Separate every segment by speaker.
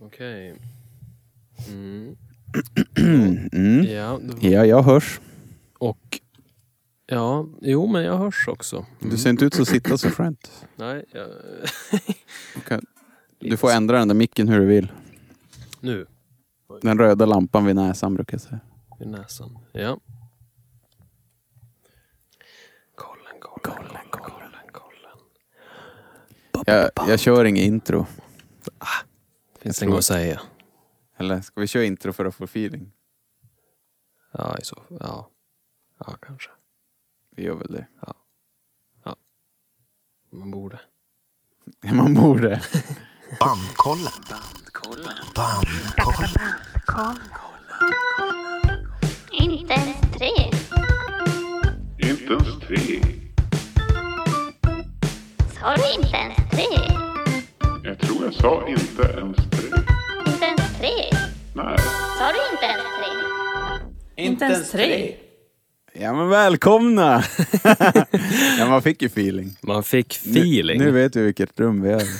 Speaker 1: Okej. Mm.
Speaker 2: Mm.
Speaker 1: Ja, det var-
Speaker 2: Ja, jag hörs.
Speaker 1: och... Ja, jo men jag hörs också. Mm.
Speaker 2: Du ser inte ut att sitta så skönt.
Speaker 1: Nej, jag,
Speaker 2: Du kan- Du får ändra den där micken hur du vill.
Speaker 1: Nu,
Speaker 2: Den röda lampan vid näsan brukar jag säga.
Speaker 1: vid näsan. Ja. Kollen, kollen, kollen, kollen, kollen.
Speaker 2: Jag, jag kör inget intro.
Speaker 1: Finns det
Speaker 2: tror
Speaker 1: något
Speaker 2: att-
Speaker 1: att säga?
Speaker 2: Eller ska vi köra intro för att få feeling?
Speaker 1: Ja, i så fall. Ja. ja, kanske.
Speaker 2: Vi gör väl det.
Speaker 1: Man borde.
Speaker 2: Man borde.
Speaker 3: Bandkollen. Bandkollen.
Speaker 4: Inte ens tre.
Speaker 5: Inte ens tre.
Speaker 4: Sa du inte ens tre?
Speaker 5: Jag tror jag sa inte ens tre.
Speaker 4: Inte ens tre?
Speaker 5: Nej.
Speaker 4: Sa du inte ens tre?
Speaker 2: Ja men välkomna! ja man fick ju feeling.
Speaker 1: Man fick feeling.
Speaker 2: Nu, nu vet du vilket rum vi är i.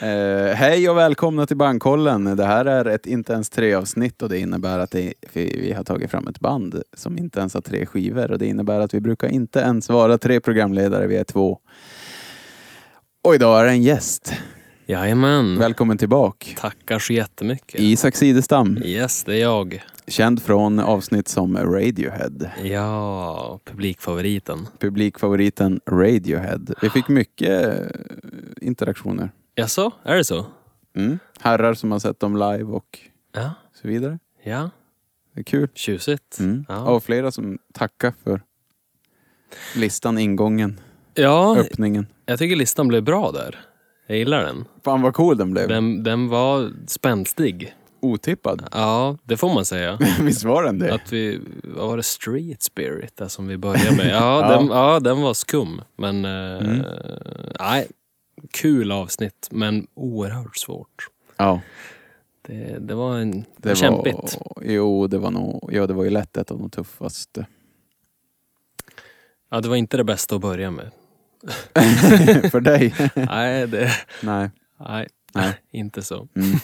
Speaker 2: Eh, hej och välkomna till Bandkollen. Det här är ett inte ens tre avsnitt och det innebär att det, vi, vi har tagit fram ett band som inte ens har tre skivor och det innebär att vi brukar inte ens vara tre programledare, vi är två. Och idag är det en gäst.
Speaker 1: Jajamän.
Speaker 2: Välkommen tillbaka.
Speaker 1: Tackar så jättemycket.
Speaker 2: Isak Sidestam,
Speaker 1: Yes, det är jag.
Speaker 2: känd från avsnitt som Radiohead.
Speaker 1: Ja, publikfavoriten.
Speaker 2: Publikfavoriten Radiohead. Vi fick mycket eh, interaktioner.
Speaker 1: Jaså, är det så?
Speaker 2: Mm. Herrar som har sett dem live och
Speaker 1: Ja.
Speaker 2: så vidare.
Speaker 1: Ja,
Speaker 2: Det är kul.
Speaker 1: tjusigt.
Speaker 2: Mm.
Speaker 1: Ja.
Speaker 2: Och flera som tackar för listan, ingången,
Speaker 1: Ja,
Speaker 2: öppningen.
Speaker 1: jag tycker listan blev bra där. Jag gillar den.
Speaker 2: Fan vad cool den blev.
Speaker 1: Den, den var spänstig.
Speaker 2: Otippad.
Speaker 1: Ja, det får man säga.
Speaker 2: Visst var den det?
Speaker 1: Att vi, vad var det, Street Spirit där som vi började med? Ja,
Speaker 2: Ja. Mm.
Speaker 1: Den, ja den var skum. Men, eh, nej. Kul avsnitt, men oerhört svårt.
Speaker 2: Ja,
Speaker 1: Det, det var en
Speaker 2: det var...
Speaker 1: kämpigt.
Speaker 2: Jo, det var nog... Ja, det var ju lätt ett av de tuffaste.
Speaker 1: Ja, det var inte det bästa att börja med.
Speaker 2: för dig?
Speaker 1: nej, det,
Speaker 2: Nej.
Speaker 1: nej,
Speaker 2: Nej.
Speaker 1: inte så.
Speaker 2: Mm.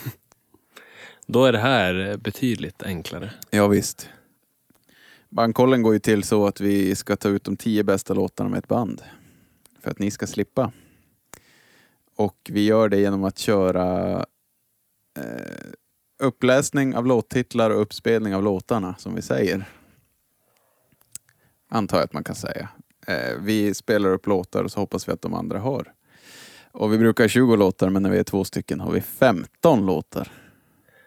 Speaker 1: Då är det här betydligt enklare.
Speaker 2: Ja, visst. Bandkollen går ju till så att vi ska ta ut de tio bästa låtarna med ett band. För att ni ska slippa. Och vi gör det genom att köra eh, uppläsning av låttitlar och uppspelning av låtarna, som vi säger. Antar jag att man kan säga. Eh, vi spelar upp låtar och så hoppas vi att de andra har. Och vi brukar ha 20 låtar, men när vi är två stycken har vi 15 låtar.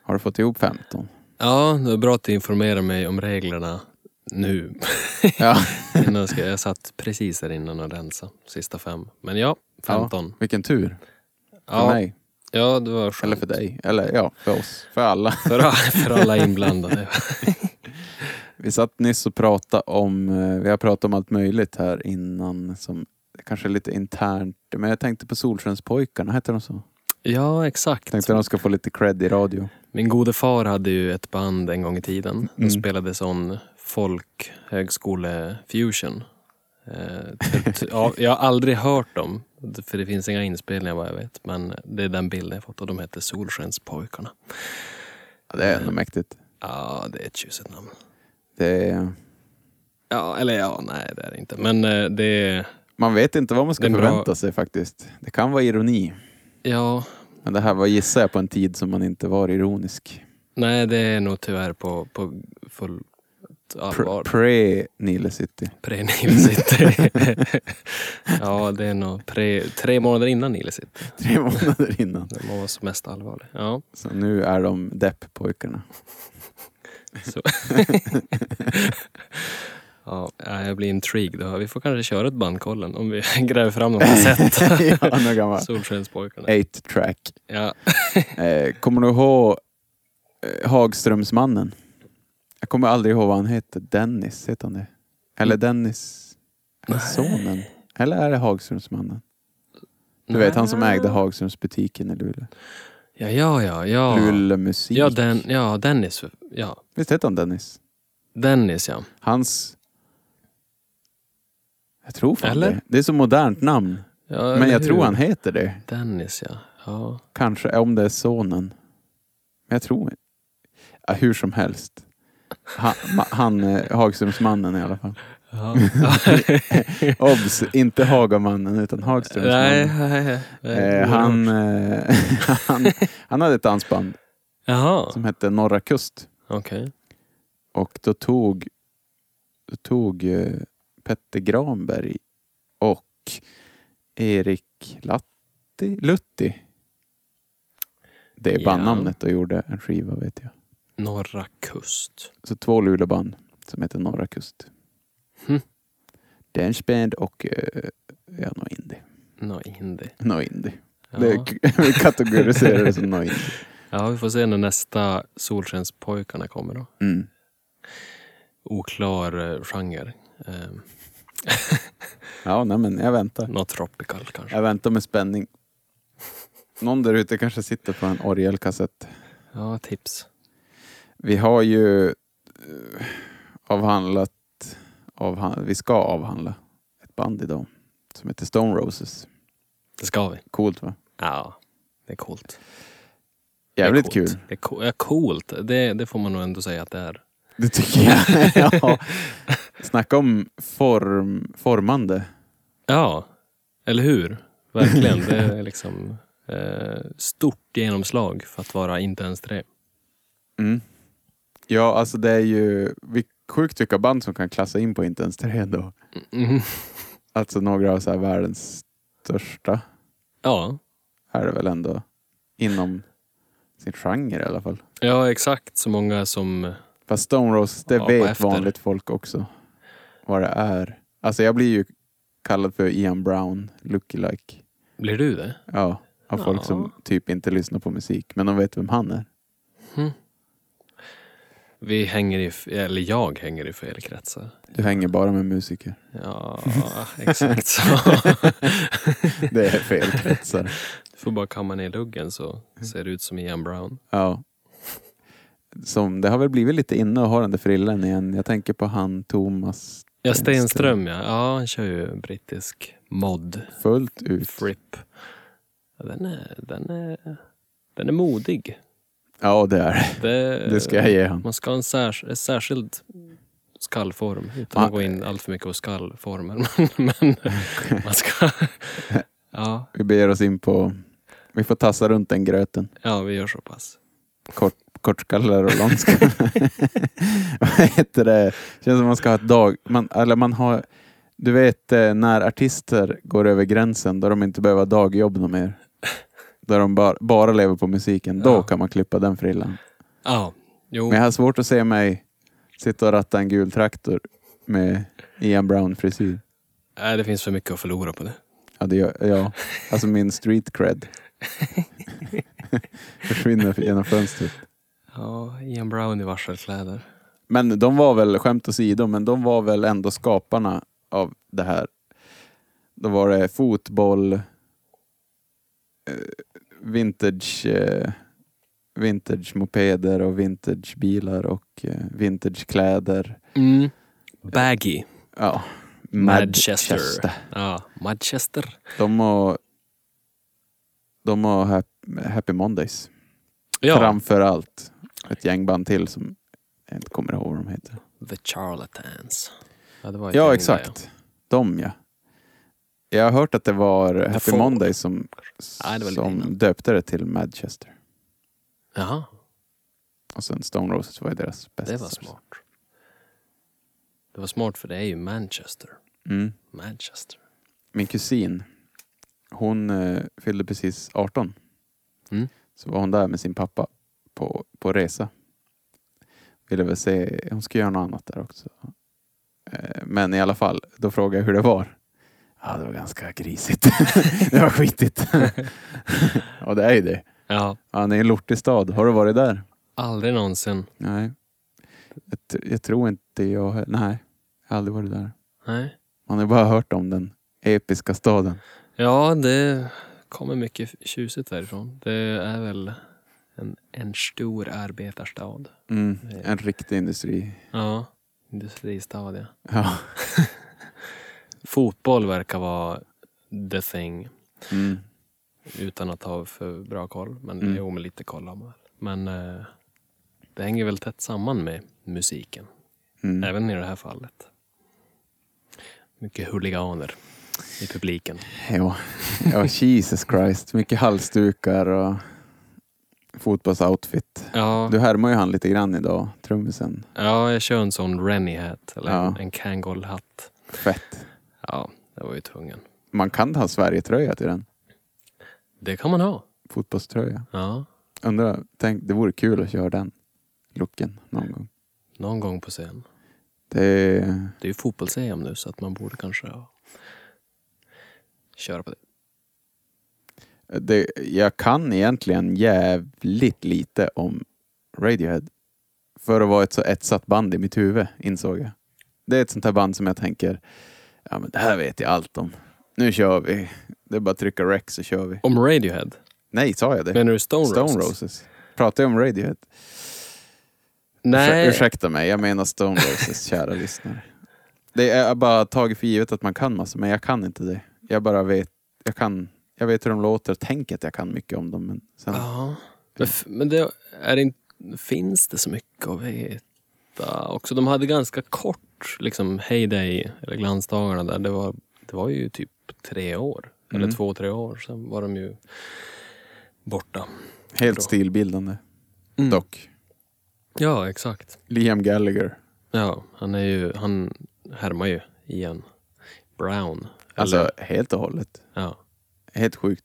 Speaker 2: Har du fått ihop 15?
Speaker 1: Ja, det var bra att du informerade mig om reglerna nu.
Speaker 2: Ja.
Speaker 1: innan jag, ska, jag satt precis här innan och rensade sista fem. Men ja, 15.
Speaker 2: Ja, vilken tur. För
Speaker 1: Ja, ja,
Speaker 2: mig.
Speaker 1: det var skönt.
Speaker 2: Eller för dig. Eller ja, för oss. För alla.
Speaker 1: För, a- för alla inblandade.
Speaker 2: Vi satt nyss och pratade om, eh, vi har pratat om allt möjligt här innan som kanske är lite internt. Men jag tänkte på Solskenspojkarna, heter de så?
Speaker 1: Ja, exakt.
Speaker 2: Tänkte de ska få lite cred i radio.
Speaker 1: Min gode far hade ju ett band en gång i tiden.
Speaker 2: Mm.
Speaker 1: De spelade sån folkhögskole-fusion. Eh, t- t- ja, jag har aldrig hört dem, för det finns inga inspelningar vad jag vet. Men det är den bilden jag fått och de heter Solskenspojkarna.
Speaker 2: Ja, det är ändå mäktigt.
Speaker 1: Ja, det är ett tjusigt namn.
Speaker 2: Det är,
Speaker 1: Ja, eller ja, nej det är det inte. Men eh, det är,
Speaker 2: man vet inte vad man
Speaker 1: Det
Speaker 2: ska
Speaker 1: är en bra-
Speaker 2: förvänta sig faktiskt. Det kan vara ironi.
Speaker 1: ja,
Speaker 2: Men det här var, gissar jag, på en tid som man inte var ironisk.
Speaker 1: nej det är nog tyvärr på, på fullt allvar.
Speaker 2: Pre-Nile City.
Speaker 1: Pre Nile City. ja, det är nog pre, tre månader innan Nile City.
Speaker 2: Tre månader innan.
Speaker 1: När man var som mest allvarlig. Ja,
Speaker 2: Så nu är de depp-pojkarna.
Speaker 1: så. ja, nej, jag blir intrigued. Vi får kanske köra ett bandkollen om vi gräver fram något sätt.
Speaker 2: ja, nu kan man.
Speaker 1: Solskenspojkarna.
Speaker 2: 8-track.
Speaker 1: Ja.
Speaker 2: Eh, kommer du ihåg eh, Hagströmsmannen? Jag kommer aldrig ihåg vad han hette. Dennis, heter han det? Eller
Speaker 1: Mm.
Speaker 2: Dennis, sonen? Eller är det Hagströmsmannen? Du vet han som ägde Hagströmsbutiken i Luleå.
Speaker 1: Ja, ja, ja. Ja,
Speaker 2: Luleå musik.
Speaker 1: ja, den, ja Dennis. Ja.
Speaker 2: Visst hette han Dennis?
Speaker 1: Dennis, ja.
Speaker 2: Hans... Jag tror fan
Speaker 1: Eller?
Speaker 2: det. Det är så modernt namn.
Speaker 1: ja
Speaker 2: Men
Speaker 1: eller
Speaker 2: jag tror
Speaker 1: hur?
Speaker 2: han heter det.
Speaker 1: Dennis, ja. ja.
Speaker 2: Kanske om det är sonen. Jag tror... Ja, hur som helst. Han, ma- han eh, Hagströmsmannen i alla fall.
Speaker 1: Ja.
Speaker 2: Obs! Inte Hagamannen utan
Speaker 1: nej,
Speaker 2: Hagströmsmannen.
Speaker 1: nej, nej. Mm.
Speaker 2: Eh, han, eh, han, han hade ett dansband
Speaker 1: Jaha,
Speaker 2: som hette Norra Kust.
Speaker 1: okej.
Speaker 2: Och då tog, då tog eh, Petter Granberg och Erik Latti, Lutti det är
Speaker 1: Ja.
Speaker 2: bandnamnet och gjorde en skiva vet jag.
Speaker 1: Norra kust.
Speaker 2: Så två Luleåband som heter Norra Kust.
Speaker 1: Hm.
Speaker 2: Danceband och eh, ja, no indie.
Speaker 1: Nå, indie.
Speaker 2: No indie.
Speaker 1: Ja.
Speaker 2: Det är- vi kategoriserar det som no indie.
Speaker 1: ja, vi får se när nästa Solskenspojkarna kommer då.
Speaker 2: Mm.
Speaker 1: Oklar eh, genre. Eh,
Speaker 2: Ja, nej, men jag väntar.
Speaker 1: Något tropical kanske.
Speaker 2: Jag väntar med spänning. Någon där ute kanske sitter på en orgelkassett.
Speaker 1: Ja, tips.
Speaker 2: Vi har ju eh, avhandlat, avhan- vi ska avhandla ett band idag som heter Stone Roses.
Speaker 1: Det ska vi.
Speaker 2: Coolt va?
Speaker 1: Ja, det är coolt. Det är
Speaker 2: Jävligt
Speaker 1: coolt.
Speaker 2: kul.
Speaker 1: Det är co- ja, coolt. Det, det får man nog ändå säga att det är.
Speaker 2: Det tycker jag. ja. Snacka om form, formande.
Speaker 1: Ja, eller hur? Verkligen. Det är liksom eh, stort genomslag för att vara inte ens tre.
Speaker 2: Mm. Ja, alltså det är ju vi, sjukt vilka band som kan klassa in på inte ens tre då.
Speaker 1: Mhm.
Speaker 2: Alltså några av så här världens största
Speaker 1: Ja,
Speaker 2: är det väl ändå inom sin genre i alla fall.
Speaker 1: ja exakt så många som...
Speaker 2: Fast Stone Roses, det
Speaker 1: Ja, på
Speaker 2: vet
Speaker 1: efter.
Speaker 2: vanligt folk också vad det är. Alltså jag blir ju kallad för Ian Brown, lookalike.
Speaker 1: Blir du eh? det?
Speaker 2: Ja, av folk som typ inte lyssnar på musik, men de vet vem han är.
Speaker 1: Vi hänger i, f- eller jag hänger i fel kretsar.
Speaker 2: Du hänger bara med musiker.
Speaker 1: Ja, exakt så.
Speaker 2: Det är fel kretsar.
Speaker 1: Du får bara kamma ner luggen så
Speaker 2: Mm.
Speaker 1: ser det ut som Ian Brown.
Speaker 2: Ja. Som, det har väl blivit lite inne att ha den där frillan igen. Jag tänker på han Thomas
Speaker 1: Ja,
Speaker 2: Stenström.
Speaker 1: Stenström ja. Ja, han kör ju brittisk mod.
Speaker 2: fullt ut.
Speaker 1: Fripp. Ja, den, är, den, är, den är modig.
Speaker 2: Ja, det är det.
Speaker 1: Det,
Speaker 2: Det ska jag ge han.
Speaker 1: Man ska ha en, särs, en särskild skallform. Utan
Speaker 2: Man-
Speaker 1: att gå in allt för mycket på skallformen. Men, men man ska... Ja,
Speaker 2: Vi beger oss in på... Vi får tassa runt den gröten.
Speaker 1: ja, vi gör så pass.
Speaker 2: Kort, kortskallar och långskallar. Vad heter det? Känns som man ska ha ett dag... Man, eller man har... Du vet eh, när artister går över gränsen då de inte behöver ha dagjobb något mer. Där de bara, bara lever på musiken. Då
Speaker 1: Ja.
Speaker 2: kan man klippa den frillan.
Speaker 1: Ja, jo.
Speaker 2: Men jag har svårt att se mig sitta och ratta en gul traktor med Ian Brown-frisyr.
Speaker 1: Nej, det finns för mycket att förlora på det.
Speaker 2: Ja, det gör, ja, alltså min street cred. Försvinner genom fönstret.
Speaker 1: Ja, Ian Brown i varselkläder.
Speaker 2: Men de var väl, skämt åsido, men de var väl ändå skaparna av det här. Då var det fotboll, eh, vintage, eh, vintage mopeder och vintage bilar och eh, vintage kläder.
Speaker 1: Mm. Baggy.
Speaker 2: Ja,
Speaker 1: Manchester. Ja, Manchester.
Speaker 2: De har, de har Hap- Happy Mondays.
Speaker 1: Ja,
Speaker 2: Framför allt ett gängband till som jag inte kommer ihåg vad de heter.
Speaker 1: The Charlatans. Ja, det var ett gäng
Speaker 2: Ja,
Speaker 1: där,
Speaker 2: exakt. De ja. Jag har hört att det var Happy
Speaker 1: Four.
Speaker 2: Monday som,
Speaker 1: Nej, det var lite
Speaker 2: som
Speaker 1: innan.
Speaker 2: döpte det till Manchester.
Speaker 1: Jaha,
Speaker 2: Och sen Stone Roses var ju deras bästa.
Speaker 1: det var smart. Det var smart för det är ju Manchester.
Speaker 2: Mm.
Speaker 1: Manchester.
Speaker 2: Min kusin, hon eh, fyllde precis 18.
Speaker 1: Mm.
Speaker 2: Så var hon där med sin pappa på, på resa. Ville väl se, hon skulle göra något annat där också. Eh, Men i alla fall, då frågade jag hur det var. Ja, det var ganska grisigt. det var skitigt. och det är ju det.
Speaker 1: Ja,
Speaker 2: Ja, det är en lortig stad. Har du varit där?
Speaker 1: aldrig någonsin.
Speaker 2: Nej. Jag, tr- jag tror inte jag he- Nej, jag har aldrig varit där.
Speaker 1: Nej.
Speaker 2: Man har bara hört om den episka staden.
Speaker 1: Ja, det kommer mycket tjusigt därifrån. Det är väl en, en stor arbetarstad.
Speaker 2: Mm. En riktig industri.
Speaker 1: Ja, industristad ja.
Speaker 2: Ja.
Speaker 1: Fotboll verkar vara the thing.
Speaker 2: Mm.
Speaker 1: Utan att ha för bra koll. Men
Speaker 2: Mm.
Speaker 1: jo, men lite koll har man väl. Men eh, det hänger väl tätt samman med musiken.
Speaker 2: Mm.
Speaker 1: Även i det här fallet. Mycket huliganer i publiken.
Speaker 2: Jo. Ja, Jesus Christ. Mycket halsdukar och fotbollsoutfit.
Speaker 1: Ja,
Speaker 2: Du härmar ju han lite grann idag, trummisen.
Speaker 1: ja jag kör en sån Rennie-hat. Eller
Speaker 2: Ja.
Speaker 1: en, en Kangol-hatt.
Speaker 2: Fett.
Speaker 1: Ja, det var ju tvungen.
Speaker 2: Man kan ha Sverige-tröja till den.
Speaker 1: Det kan man ha.
Speaker 2: Fotbollströja.
Speaker 1: Ja,
Speaker 2: Undrar, tänk, det vore kul att köra den looken någon gång.
Speaker 1: någon gång på scen.
Speaker 2: Det,
Speaker 1: Det är ju fotbolls nu så att man borde kanske ja, köra på det.
Speaker 2: det, jag kan egentligen jävligt lite om Radiohead. För att vara ett så etsat band i mitt huvud, insåg jag. Det är ett sånt här band som jag tänker, ja men det här vet jag allt om. Nu kör vi. Det är bara att trycka rec så kör vi.
Speaker 1: Om Radiohead.
Speaker 2: Nej, sa jag det?
Speaker 1: Menar du Stone,
Speaker 2: Stone
Speaker 1: Roses?
Speaker 2: Roses. Pratar jag om Radiohead?
Speaker 1: Nej,
Speaker 2: Ursä- Ursäkta mig, jag menar Stone Roses, kära lyssnare. Det är jag har bara tagit för givet att man kan massa, men jag kan inte det. Jag bara vet, jag kan, jag vet hur de låter och tänker att jag kan mycket om dem, men sen...
Speaker 1: Ja. Men, f- men det, är det inte, finns det så mycket att veta? Också, de hade ganska kort liksom, heyday, eller glansdagarna där. Det var, det var ju typ tre år, eller två, tre år. Sen var de ju borta.
Speaker 2: Helt stilbildande.
Speaker 1: Mm.
Speaker 2: Dock.
Speaker 1: Ja, exakt.
Speaker 2: Liam Gallagher.
Speaker 1: Ja, han är ju, han härmar ju igen. Brown.
Speaker 2: Alltså
Speaker 1: Eller-
Speaker 2: helt och hållet.
Speaker 1: ja.
Speaker 2: Helt sjukt.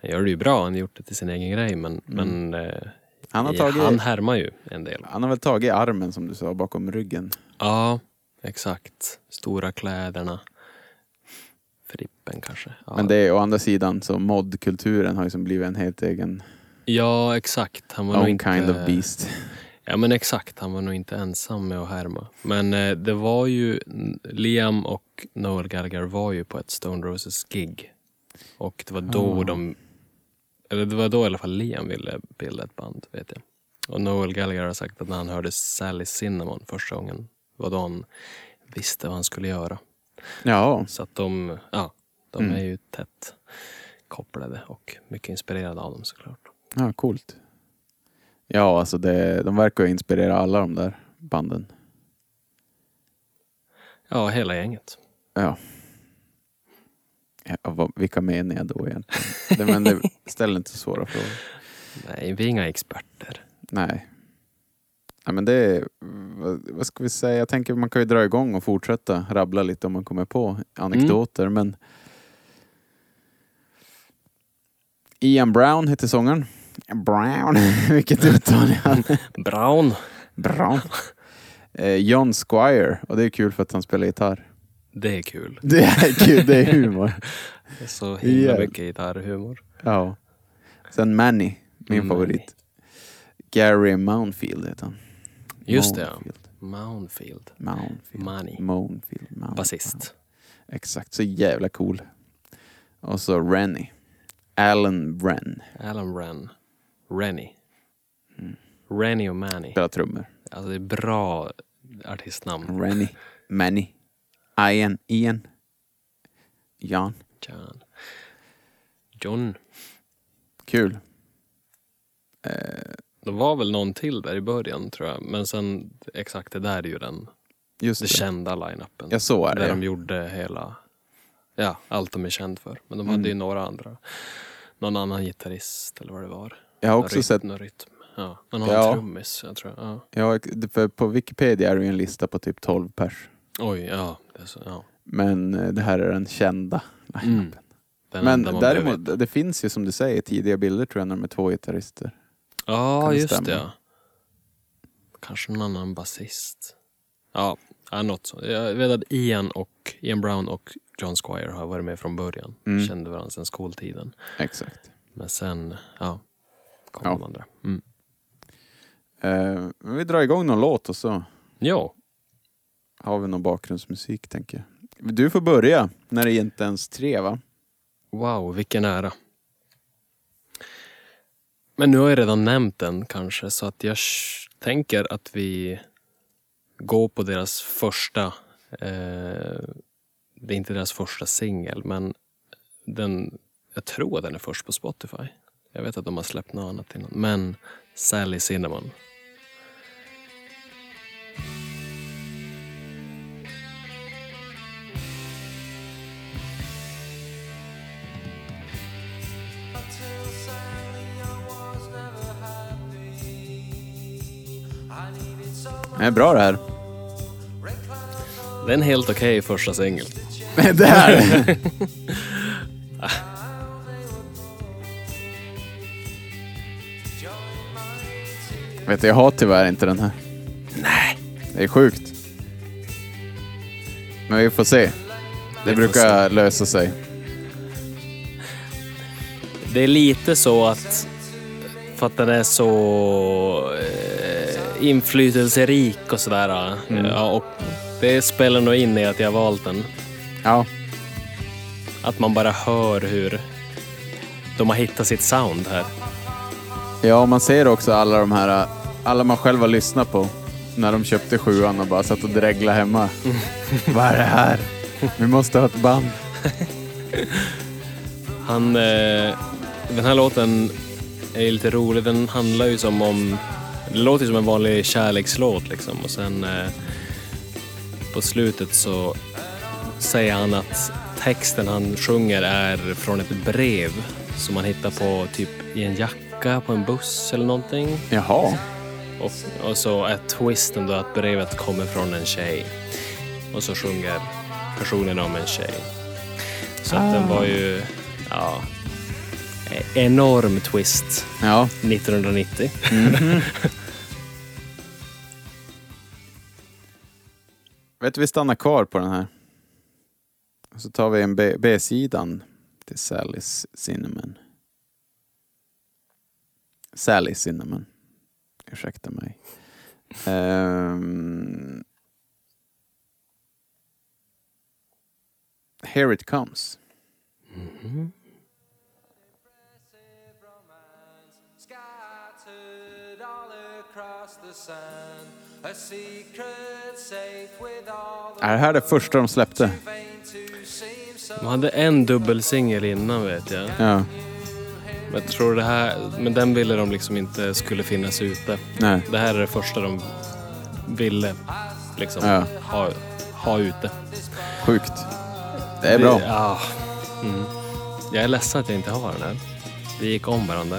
Speaker 1: Han gör det ju bra, han har gjort det till sin egen grej, men, men eh,
Speaker 2: Han har,
Speaker 1: i-
Speaker 2: tagit,
Speaker 1: han
Speaker 2: han...
Speaker 1: härmar ju en del.
Speaker 2: har väl tagit armen som du sa bakom ryggen.
Speaker 1: Ja, exakt. Stora kläderna. Frippen kanske. Ja,
Speaker 2: Men det är å andra sidan så modkulturen har ju som blivit en helt egen
Speaker 1: ja exakt. Han var nog
Speaker 2: own
Speaker 1: inte...
Speaker 2: kind of beast.
Speaker 1: Ja, men exakt. Han var nog inte ensam med att härma. Men eh, det var ju... Liam och Noel Gallagher var ju på ett Stone Roses-gig. Och det var då
Speaker 2: Ah.
Speaker 1: de... Eller det var då i alla fall Liam ville bilda ett band, vet jag. Och Noel Gallagher har sagt att när han hörde Sally Cinnamon första gången var då han visste vad han skulle göra.
Speaker 2: Ja,
Speaker 1: Så att de, ja, de
Speaker 2: Mm.
Speaker 1: är ju tätt kopplade och mycket inspirerade av dem såklart.
Speaker 2: ja coolt. Ja, alltså det, de verkar ju inspirera alla de där banden.
Speaker 1: Ja, hela gänget.
Speaker 2: Ja. ja vad, vilka menar jag då egentligen? Det- Men det ställer inte så svåra frågor.
Speaker 1: Nej, vi är inga experter.
Speaker 2: Nej. Ja, men det är, vad, vad ska vi säga? Jag tänker man kan ju dra igång och fortsätta rabbla lite om man kommer på anekdoter.
Speaker 1: Mm.
Speaker 2: Men Ian Brown heter sångaren. Brown, vilket uttal är han?
Speaker 1: Brown.
Speaker 2: Brown. Eh, John Squire, och det är kul för att han spelar gitarr.
Speaker 1: Det är kul.
Speaker 2: Det är kul, det är humor.
Speaker 1: Det är så himla
Speaker 2: Ja.
Speaker 1: mycket gitarrhumor.
Speaker 2: Ja. Sen Manny, min
Speaker 1: Manny.
Speaker 2: favorit. Gary Mounfield heter han.
Speaker 1: Just det, ja.
Speaker 2: Mounfield.
Speaker 1: Mounfield.
Speaker 2: Mounfield.
Speaker 1: Manny.
Speaker 2: Mounfield. Mounfield.
Speaker 1: Basist.
Speaker 2: Exakt, så jävla cool. Och så Rennie. Alan Wren.
Speaker 1: Alan Wren. Rennie.
Speaker 2: Mm.
Speaker 1: Rennie och Manny.
Speaker 2: Spelar trummor.
Speaker 1: Alltså det är bra artistnamn.
Speaker 2: Rennie. Manny. Ian. Ian. Jan.
Speaker 1: John. John.
Speaker 2: Kul.
Speaker 1: Det var väl någon till där i början tror jag. Men sen exakt det där är ju den
Speaker 2: Just
Speaker 1: det
Speaker 2: det.
Speaker 1: kända line-upen.
Speaker 2: Ja, så är
Speaker 1: där
Speaker 2: det.
Speaker 1: de gjorde hela, ja, allt de är känd för. Men de
Speaker 2: Mm.
Speaker 1: hade ju några andra. Någon annan gitarrist eller vad det var.
Speaker 2: Jag har
Speaker 1: Någon
Speaker 2: också
Speaker 1: rytm,
Speaker 2: sett-
Speaker 1: Någon rytm. Ja, någon
Speaker 2: Ja.
Speaker 1: annan trummis, jag tror. Ja.
Speaker 2: Ja, för på Wikipedia är det ju en lista på typ 12 pers.
Speaker 1: Oj, ja. Det är så, ja.
Speaker 2: Men eh, det här är den kända.
Speaker 1: Mm. Den
Speaker 2: Men
Speaker 1: enda man behöver
Speaker 2: däremot,
Speaker 1: veta.
Speaker 2: det finns ju som du säger tidiga bilder tror jag när de är två gitarrister.
Speaker 1: Ja,
Speaker 2: kan det
Speaker 1: just
Speaker 2: stämma?
Speaker 1: det. ja. Kanske någon annan basist. Ja, ja något sånt. Jag vet att Ian, och, Ian Brown och John Squire har varit med från början.
Speaker 2: Mm.
Speaker 1: Kände varandra sedan skoltiden.
Speaker 2: Exakt.
Speaker 1: Men sen, ja, kom
Speaker 2: Ja.
Speaker 1: de andra. Mm.
Speaker 2: Eh, men vi drar igång någon låt och så
Speaker 1: Ja,
Speaker 2: har vi någon bakgrundsmusik tänker jag. Du får börja när det inte ens tre va?
Speaker 1: wow, vilken ära. Men nu har jag redan nämnt den kanske, så att jag sh- tänker att vi går på deras första... Eh, det är inte deras första singel, men den, jag tror att den är först på Spotify. Jag vet att de har släppt något annat innan, men Sally Cinnamon.
Speaker 2: Det är bra det här.
Speaker 1: Det är en helt okej första singel.
Speaker 2: det här. Vet du, jag har tyvärr inte den här. Nej. Det är sjukt. Men vi får se. Det
Speaker 1: får
Speaker 2: brukar lösa sig.
Speaker 1: Det är lite så att för att den är så eh, inflytelserik och sådär. eh, Ja, och det spelar nog in i att jag valt den.
Speaker 2: Ja.
Speaker 1: Att man bara hör hur de har hittat sitt sound här.
Speaker 2: Ja, man ser också alla de här, alla man själv har lyssnat på när de köpte sjuan och bara satt och dreglade hemma. Vad är det här? Vi måste ha ett band.
Speaker 1: Han, eh, den här låten är ju lite rolig. Den handlar ju som om... Det låter ju som en vanlig kärlekslåt liksom. Och sen eh, på slutet så säger han att texten han sjunger är från ett brev som man hittar på typ i en jacka på en buss eller någonting.
Speaker 2: Jaha.
Speaker 1: Och, och så är twisten då att brevet kommer från en tjej. Och så sjunger personen om en tjej. Så att den
Speaker 2: Ah.
Speaker 1: var ju, ja, e- enorm twist
Speaker 2: Ja.
Speaker 1: 1990.
Speaker 2: Vet du, vi stannar kvar på den här. Och Så tar vi en B- B-sidan till Sally's Cinnamon. Sally's Cinnamon. Ursäkta mig. Ehm. Here it comes.
Speaker 6: Scattered all across the sand, a secret safe with all
Speaker 2: Är det här det första de släppte?
Speaker 1: De hade en dubbelsingel innan vet jag.
Speaker 2: Ja.
Speaker 1: Men, jag tror det här, men den ville de liksom inte skulle finnas ute.
Speaker 2: Nej.
Speaker 1: Det här är det första de ville liksom
Speaker 2: Ja.
Speaker 1: ha, ha ute.
Speaker 2: Sjukt. Det är bra.
Speaker 1: Ja. Mm. Jag är ledsen att jag inte har den här. Vi gick om varandra.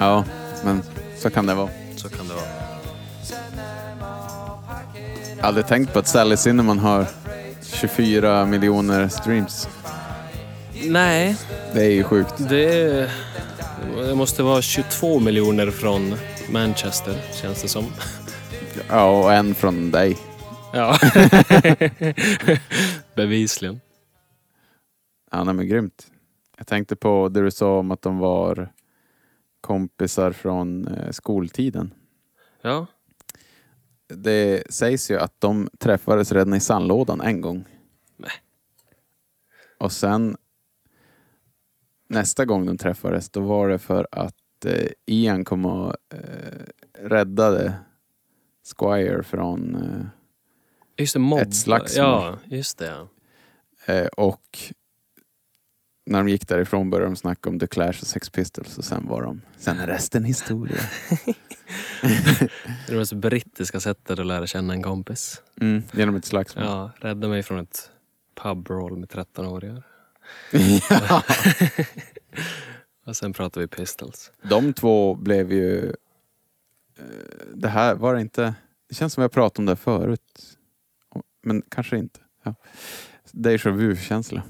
Speaker 2: Ja, men så kan det vara.
Speaker 1: Så kan det vara.
Speaker 2: Jag har aldrig tänkt på att Sally Cinnamon har 24 miljoner streams.
Speaker 1: Nej,
Speaker 2: Det är ju sjukt.
Speaker 1: det, det måste vara 22 miljoner från Manchester, känns det som.
Speaker 2: Ja, och en från dig.
Speaker 1: Ja. Bevisligen.
Speaker 2: Ja, nej, men grymt. Jag tänkte på det du sa om att de var kompisar från eh, skoltiden.
Speaker 1: Ja,
Speaker 2: Det sägs ju att de träffades redan i sandlådan en gång.
Speaker 1: Nej.
Speaker 2: Och sen nästa gång de träffades, då var det för att eh, Ian kom och eh, räddade Squire från eh,
Speaker 1: just det. Mobb.
Speaker 2: Ett slagsmål.
Speaker 1: Ja, just det. ja.
Speaker 2: Eh, och när de gick därifrån började de snacka om The Clash och Sex Pistols och sen var de... Sen är resten historia.
Speaker 1: Det är det mest brittiska sättet att lära känna en kompis.
Speaker 2: Mm, genom ett slagsmål.
Speaker 1: Ja, rädda mig från ett pubroll med 13-åringar. Och sen pratar vi Pistols.
Speaker 2: De två blev ju... eh, Det här var det inte... Det känns som vi har pratat om det här förut. Men kanske inte. Ja. Deja vu-känsla.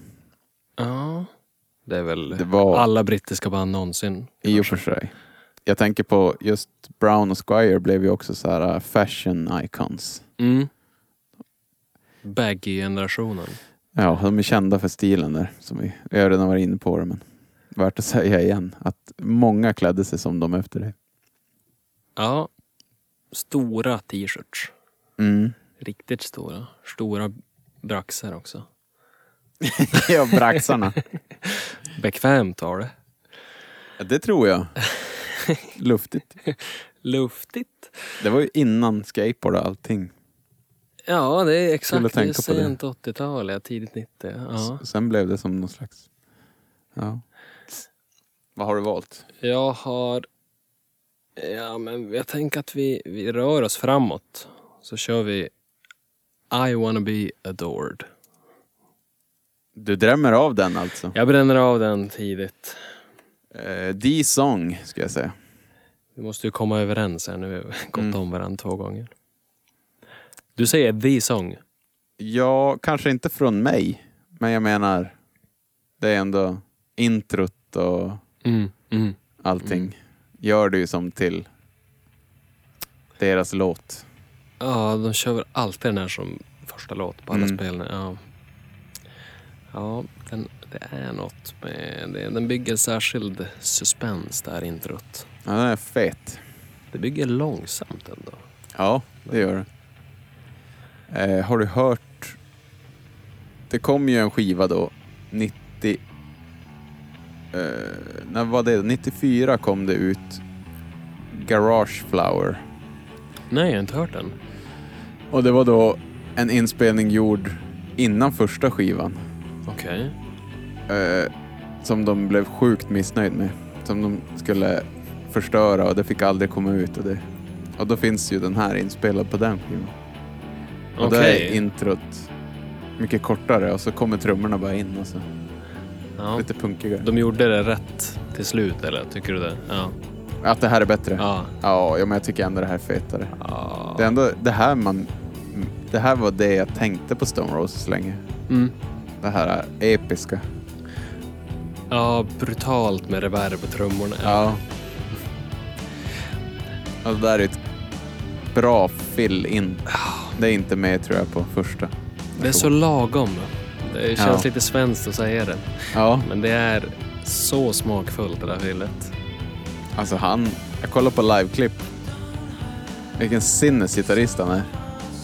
Speaker 1: Ja, det är väl
Speaker 2: Det var-
Speaker 1: alla brittiska band någonsin.
Speaker 2: I och för sig. Jag tänker på just Brown och Squire blev ju också så här eh, fashion icons.
Speaker 1: Mm. Baggy-generationen.
Speaker 2: Ja, de är kända för stilen där. Som vi, vi har redan varit inne på det, men värt att säga igen att många klädde sig som dem efter det.
Speaker 1: Ja, stora t-shirts.
Speaker 2: Mm.
Speaker 1: Riktigt stora. Stora braxar också.
Speaker 2: Ja, braxarna.
Speaker 1: Bekvämt var det.
Speaker 2: det tror jag. Luftigt.
Speaker 1: Luftigt.
Speaker 2: Det var ju innan skateboard och allting.
Speaker 1: Ja, det är
Speaker 2: Kul att
Speaker 1: exakt det är
Speaker 2: tänka på det.
Speaker 1: sent 80-tal, ja, tidigt Alltså, 90. Ja.
Speaker 2: S- Sen blev det som någon slags... Ja. Vad har du valt?
Speaker 1: Jag har Ja, men jag tänker att vi, vi rör oss framåt. Så kör vi I wanna be adored.
Speaker 2: Du drämmer av den alltså.
Speaker 1: Jag bränner av den tidigt.
Speaker 2: Eh, The Song, ska jag säga.
Speaker 1: Vi måste ju komma överens här nu. Vi har gått om varandra två gånger. Du säger the song.
Speaker 2: Ja, kanske inte från mig, men jag menar, det är ändå introt och
Speaker 1: Mm. Mm.
Speaker 2: allting. Gör det ju som till deras låt.
Speaker 1: Ja, de kör väl alltid den här som första låt på alla
Speaker 2: Mm.
Speaker 1: spelen. Ja, ja den, det är något med det. Den bygger särskild suspens, det här introt.
Speaker 2: Ja, den är fet.
Speaker 1: Det bygger långsamt ändå.
Speaker 2: Ja, det gör det. Eh, har du hört? Det kom ju en skiva då, 90... Eh, när var det? 94 kom det ut Garage Flower.
Speaker 1: Nej, jag har inte hört den.
Speaker 2: Och det var då en inspelning gjord innan första skivan.
Speaker 1: Okej.
Speaker 2: Eh, som de blev sjukt missnöjd med. Som de skulle förstöra och det fick aldrig komma ut. Och, det. och då finns ju den här inspelad på den skivan. Och där
Speaker 1: Okej.
Speaker 2: är introt mycket kortare och så kommer trummorna bara in och så
Speaker 1: Ja.
Speaker 2: lite punkigare.
Speaker 1: De gjorde det rätt till slut, eller? Tycker du det? Ja.
Speaker 2: Att det här är bättre?
Speaker 1: Ja.
Speaker 2: Ja, ja, men jag tycker ändå det här är fetare.
Speaker 1: ja.
Speaker 2: Det är ändå det här man... Det här var det jag tänkte på Stone Roses länge.
Speaker 1: Mm.
Speaker 2: Det här är episka.
Speaker 1: ja brutalt med reverb på trummorna.
Speaker 2: Ja. Ja, det där är ett bra fill-in. Det är inte med tror jag på första.
Speaker 1: Det är så lagom. Det känns
Speaker 2: Ja.
Speaker 1: lite svenskt att säga det.
Speaker 2: Ja,
Speaker 1: Men det är så smakfullt det där fillet.
Speaker 2: alltså han... Jag kollar på liveklipp. Vilken sinnesgitarrist han är.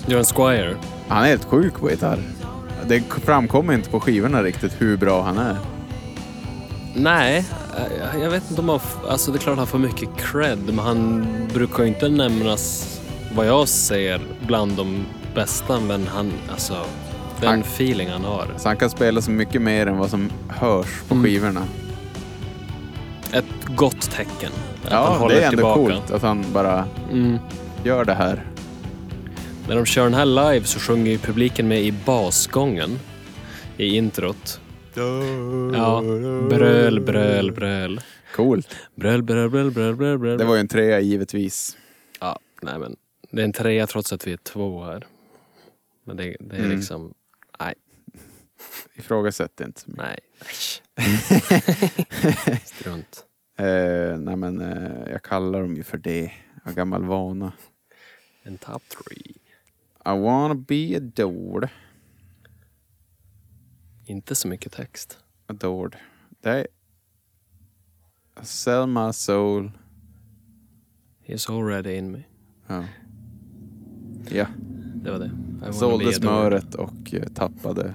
Speaker 1: John Squire.
Speaker 2: Han är helt sjuk på gitarr. Det framkommer inte på skivorna riktigt hur bra han är.
Speaker 1: Nej, eh, jag vet inte om han... f- Alltså det är klart han får mycket cred, men han brukar ju inte nämnas, vad jag ser, bland de bästa. Men han, alltså, den
Speaker 2: Han-
Speaker 1: feeling han har.
Speaker 2: Så han kan spela så mycket mer än vad som hörs
Speaker 1: Mm.
Speaker 2: på skivorna.
Speaker 1: Ett gott tecken. Att han
Speaker 2: Ja,
Speaker 1: håller
Speaker 2: det är ändå
Speaker 1: tillbaka.
Speaker 2: coolt att han bara
Speaker 1: Mm.
Speaker 2: gör det här.
Speaker 1: När de kör den här live så sjunger ju publiken med i basgången i introt. Ja, bröl, bröl, bröl.
Speaker 2: Coolt.
Speaker 1: Bröl, bröl, bröl, bröl, bröl, bröl.
Speaker 2: Det var ju en trea givetvis.
Speaker 1: Ja, nej men. Det är en trea trots att vi är två här. Men det, det är
Speaker 2: Mm.
Speaker 1: liksom, nej,
Speaker 2: Ifrågasätt inte så mycket.
Speaker 1: nej. äsch. Strunt.
Speaker 2: Eh, nej men eh, jag kallar dem ju för det. Av gammal vana.
Speaker 1: En top three.
Speaker 2: I wanna be adored.
Speaker 1: Inte så mycket text.
Speaker 2: Adored. Det är... Sell my soul.
Speaker 1: He's already in me.
Speaker 2: Ja. Ja,
Speaker 1: Det var det. I wanna be
Speaker 2: sålde
Speaker 1: adored.
Speaker 2: smöret och eh, tappade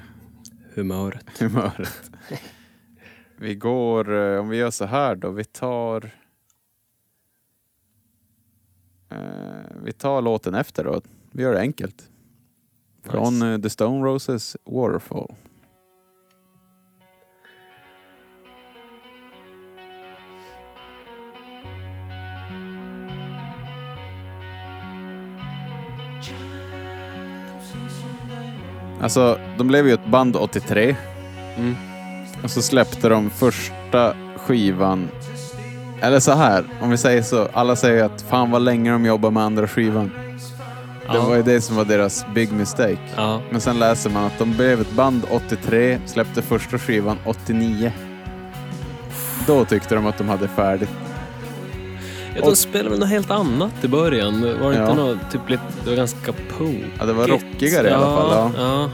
Speaker 1: Humöret.
Speaker 2: humöret. Vi går, eh, om vi gör så här då, vi tar... Eh, vi tar låten efter då. Vi gör det enkelt. Från
Speaker 1: Nice.
Speaker 2: eh, The Stone Roses Waterfall. Alltså, de blev ju ett band 83.
Speaker 1: Mm.
Speaker 2: Och så släppte de första skivan. Eller så här, om vi säger så. Alla säger att fan vad länge de jobbar med andra skivan. Det
Speaker 1: Ja.
Speaker 2: var ju det som var deras big mistake.
Speaker 1: Ja,
Speaker 2: Men sen läser man att de blev ett band 83, släppte första skivan 89. Då tyckte de att de hade färdigt.
Speaker 1: Ja, de spelade väl något helt annat i början. Var det
Speaker 2: Ja.
Speaker 1: inte något, typ lite, det var ganska punk.
Speaker 2: Ja, det var rockigare i alla fall. Ja.
Speaker 1: Ja,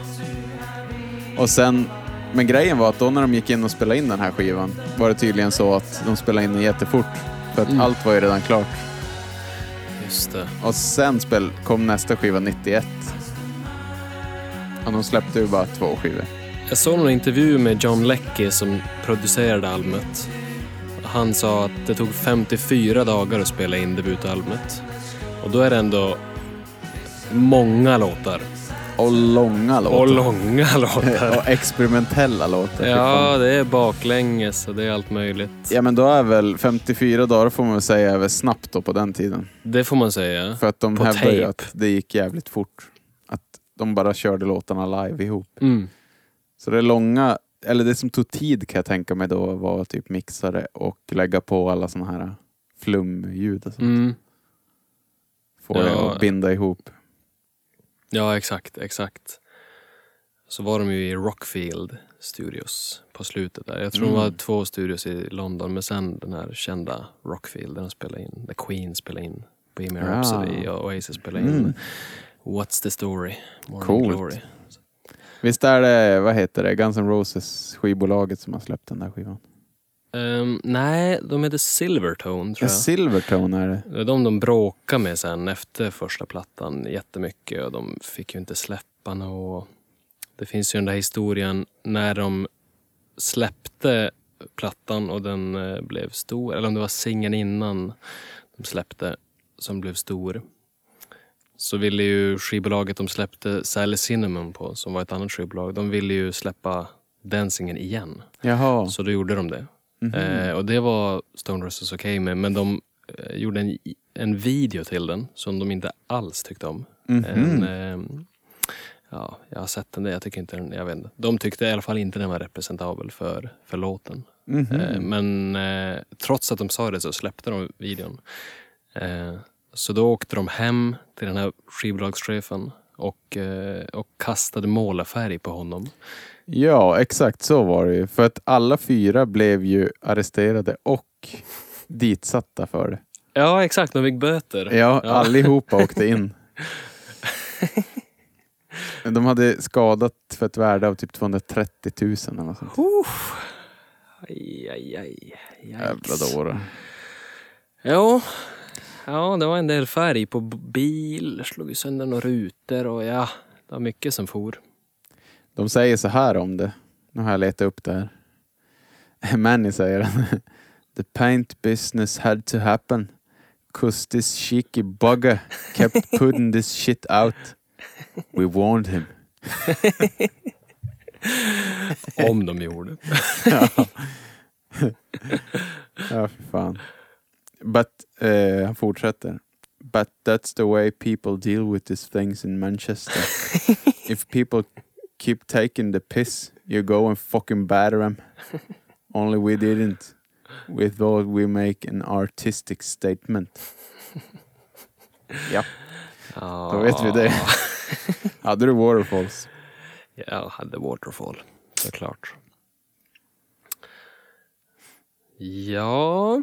Speaker 2: Och sen, men grejen var att då när de gick in och spelade in den här skivan var det tydligen så att de spelade in den jättefort. För att
Speaker 1: Mm.
Speaker 2: allt var ju redan klart.
Speaker 1: just det.
Speaker 2: Och sen spel, kom nästa skiva 91. Och de släppte ju bara två skivor.
Speaker 1: Jag såg någon intervju med John Leckie som producerade albumet. Han sa att det tog 54 dagar att spela in debutalbumet. Och då är det ändå många låtar.
Speaker 2: Och långa låtar.
Speaker 1: Och långa låtar.
Speaker 2: och experimentella låtar.
Speaker 1: Ja, det är baklänges och det är allt möjligt.
Speaker 2: ja, men då är väl 54 dagar får man väl säga är väl snabbt då på den tiden.
Speaker 1: Det får man säga.
Speaker 2: För att de
Speaker 1: På
Speaker 2: hävdar ju
Speaker 1: tape.
Speaker 2: att det gick jävligt fort. Att de bara körde låtarna live ihop.
Speaker 1: Mm.
Speaker 2: Så det långa, eller det som tog tid kan jag tänka mig då var typ mixare och lägga på alla såna här flumljud och sånt.
Speaker 1: Mm.
Speaker 2: Få det
Speaker 1: Ja.
Speaker 2: att binda ihop.
Speaker 1: Ja, exakt, exakt. Så var de ju i Rockfield Studios på slutet där. Jag tror
Speaker 2: Mm.
Speaker 1: de var två studios i London, men sen den här kända Rockfield där de spelade in, The Queen spelade in, Bohemian
Speaker 2: Ja.
Speaker 1: Rhapsody och Oasis spelade in What's the story? Morning
Speaker 2: Mm. Coolt.
Speaker 1: Glory.
Speaker 2: Visst är det, vad heter det, Guns N' Roses skivbolaget som har släppt den där skivan?
Speaker 1: Ehm, nej, de heter Silvertone
Speaker 2: Ja.
Speaker 1: tror jag.
Speaker 2: Silvertone är det.
Speaker 1: Det är de de bråkade med sen efter första plattan jättemycket och de fick ju inte släppa något. Det finns ju den där historien när de släppte plattan och den eh, blev stor, eller om det var singeln innan de släppte som blev stor. Så ville ju skivbolaget de släppte Sally Cinnamon på, som var ett annat skivbolag, de ville ju släppa den singeln igen.
Speaker 2: Jaha.
Speaker 1: Så då gjorde de det. Eh, och det var Stone Roses okej med, men de eh, gjorde en, en video till den som de inte alls tyckte om. En, ehm, ja, jag har sett den där, jag tycker inte den, jag vet inte. De tyckte i alla fall inte den var representabel för, för låten. Eh, men eh, trots att de sa det så släppte de videon. Eh, så då åkte de hem till den här skivbolagschefen och, eh, och kastade målarfärg på honom.
Speaker 2: Ja, exakt så var det ju. För att alla fyra blev ju arresterade och ditsatta för det.
Speaker 1: Ja, exakt. De fick böter.
Speaker 2: Ja, allihopa åkte in. De hade skadat för ett värde av typ 230 000 eller något sånt.
Speaker 1: Aj, aj, aj.
Speaker 2: Jävla dåre.
Speaker 1: Jo. Ja, det var en del färg på b- bil, slog ju sönder några rutor och ja, det var mycket som for.
Speaker 2: De säger så här om det. Nu har jag letat upp det här. Manny säger The paint business had to happen. Cause this cheeky bugger kept putting this shit out. We warned him.
Speaker 1: Om de gjorde.
Speaker 2: Ja, för fan. But, eh, han fortsätter. But that's the way people deal with these things in Manchester. If people keep taking the piss, you go and fucking batter them. Only we didn't. We thought we make an artistic statement. Ja, då vet vi det. Hade du Waterfalls?
Speaker 1: Jag hade Waterfall, såklart. Ja...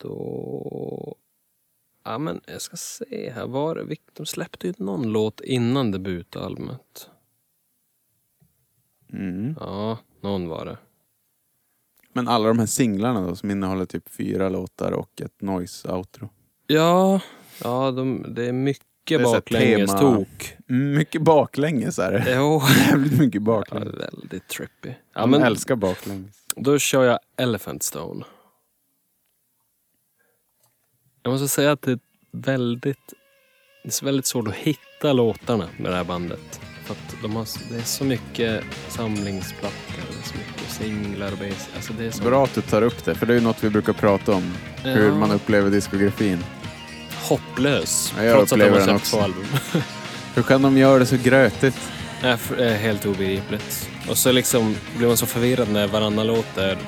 Speaker 1: Då... Ja, men jag ska se här. Var, det- vilk- de släppte ju någon låt innan debutalbumet.
Speaker 2: Mm.
Speaker 1: Ja, någon var det.
Speaker 2: Men alla de här singlarna då som innehåller typ fyra låtar och ett noise-outro.
Speaker 1: Ja, ja de, det är mycket
Speaker 2: Det är så här
Speaker 1: baklänges-tok.
Speaker 2: Mm, Mycket baklänges är det.
Speaker 1: Jo.
Speaker 2: Jävligt mycket
Speaker 1: Ja,
Speaker 2: baklänges.
Speaker 1: väldigt trippy. Ja,
Speaker 2: De
Speaker 1: men
Speaker 2: älskar baklänges.
Speaker 1: då kör jag Elephant Stone. Jag måste säga att det är väldigt, det är väldigt svårt att hitta låtarna med det här bandet. För att de har, s- det är så mycket samlingsplattor, det är så mycket singlar och bas. Alltså det är så
Speaker 2: Bra att du tar upp det, för det är ju något vi brukar prata om. Hur
Speaker 1: Ja.
Speaker 2: man upplever diskografin.
Speaker 1: hopplös.
Speaker 2: Ja, jag
Speaker 1: trots att de har
Speaker 2: upplever den
Speaker 1: släppt två
Speaker 2: också.
Speaker 1: album.
Speaker 2: Hur kan de göra det så grötigt?
Speaker 1: är f- är helt obegripligt. Och så liksom blir man så förvirrad när varannan låt är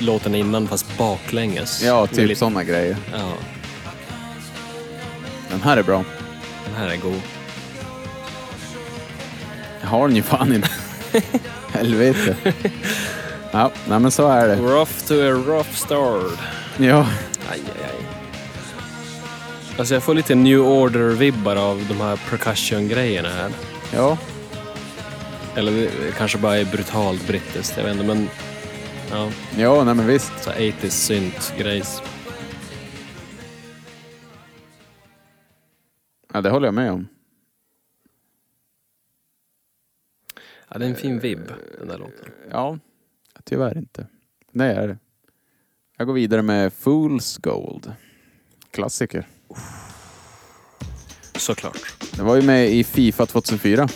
Speaker 1: låten innan fast baklänges.
Speaker 2: Ja,
Speaker 1: Det är
Speaker 2: typ
Speaker 1: lite-
Speaker 2: sådana grejer.
Speaker 1: Ja,
Speaker 2: Den här är bra.
Speaker 1: den här är god.
Speaker 2: Jag har den ju fan inte. Helvete. Ja, nej men så är det.
Speaker 1: We're off to a rough start.
Speaker 2: Ja,
Speaker 1: Aj, aj, aj. Alltså jag får lite New Order-vibbar av de här percussion-grejerna här.
Speaker 2: ja.
Speaker 1: Eller det kanske bara är brutalt brittiskt, jag vet inte. Men ja,
Speaker 2: ja nej men visst.
Speaker 1: så 80s synt-grejs.
Speaker 2: Ja, det håller jag med om.
Speaker 1: Ja, det är en fin vibb, den där låten.
Speaker 2: Ja, tyvärr inte. Nej, är det. Jag går vidare med Fool's Gold. Klassiker.
Speaker 1: såklart.
Speaker 2: Det var ju med i Fifa 2004.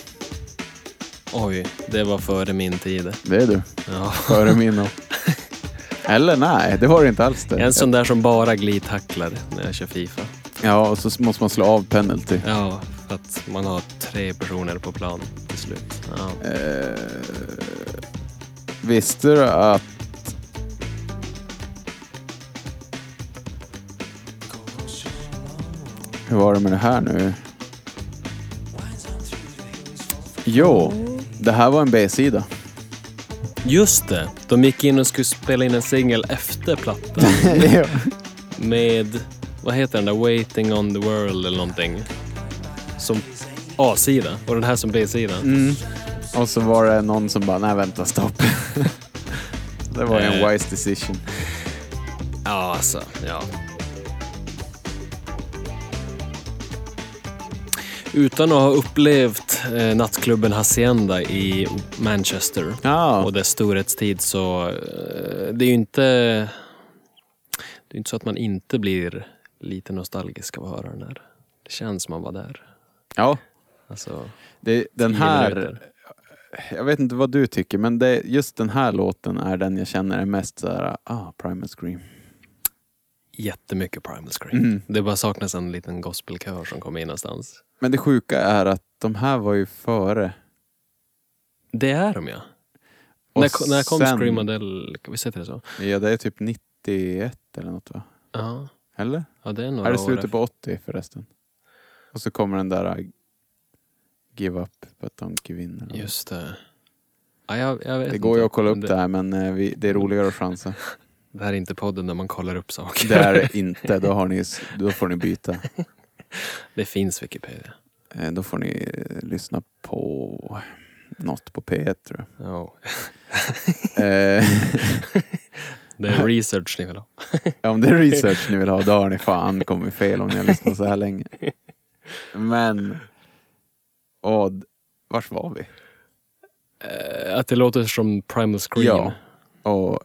Speaker 1: Oj, det var före min tid.
Speaker 2: Det är du.
Speaker 1: Ja.
Speaker 2: Före min och... Eller nej, det var det inte alls.
Speaker 1: Jag är en
Speaker 2: Det.
Speaker 1: sån där som bara glidtacklar när jag kör Fifa.
Speaker 2: Ja, och så måste man slå av penalty.
Speaker 1: Ja, för att man har tre personer på plan till slut. Ja.
Speaker 2: Visste du att... Hur var det med det här nu? Jo, det här var en B-sida.
Speaker 1: Just det, de gick in och skulle spela in en singel efter plattan med, vad heter den där, Waiting on the world eller någonting. Som A-sida och den här som B-sida.
Speaker 2: och så var det någon som bara, nej vänta, stopp. det var ju en
Speaker 1: Eh.
Speaker 2: wise decision.
Speaker 1: Ja, alltså, ja. Utan att ha upplevt eh, nattklubben Hacienda i Manchester
Speaker 2: Ja.
Speaker 1: och dess storhetstid så eh, det är ju inte, det är inte så att man inte blir lite nostalgisk av att höra den här. Det känns som man var där.
Speaker 2: Ja,
Speaker 1: Alltså,
Speaker 2: det, den
Speaker 1: tio
Speaker 2: här...
Speaker 1: minuter.
Speaker 2: Jag vet inte vad du tycker, men det, just den här låten är den jag känner är mest så här, ah, Primal Scream.
Speaker 1: Jättemycket Primal Scream.
Speaker 2: Mm.
Speaker 1: Det bara saknas en liten gospelkör som kommer in någonstans.
Speaker 2: Men det sjuka är att de här var ju före.
Speaker 1: Det är de ja.
Speaker 2: Och
Speaker 1: När, när kom
Speaker 2: sen-
Speaker 1: Scream Adele? Visst heter det så?
Speaker 2: Ja, det är typ 91 eller något va?
Speaker 1: Ja.
Speaker 2: Eller?
Speaker 1: Ja, det är några
Speaker 2: är det
Speaker 1: år
Speaker 2: slutet på 80 förresten? Och så kommer den där uh, Give up but don't give in. eller
Speaker 1: efter.
Speaker 2: något.
Speaker 1: Just det. Ja, jag, jag vet
Speaker 2: Det går
Speaker 1: inte.
Speaker 2: ju
Speaker 1: Mm.
Speaker 2: att kolla
Speaker 1: Men
Speaker 2: upp det här men eh, vi, det är roligare att chansa.
Speaker 1: Det här är inte podden där man kollar upp saker.
Speaker 2: Det är det inte, då, har ni, s- då får ni byta.
Speaker 1: Det finns Wikipedia.
Speaker 2: Eh, Då får ni eh, lyssna på något på P1 tror jag.
Speaker 1: Ja.
Speaker 2: Eh,
Speaker 1: Det är research ni vill ha.
Speaker 2: om det är research ni vill ha, då har ni fan kommit fel om ni har lyssnat så här länge. Men... Åh, d- vars var vi?
Speaker 1: Eh, Att det låter som Primal Scream.
Speaker 2: Ja. Och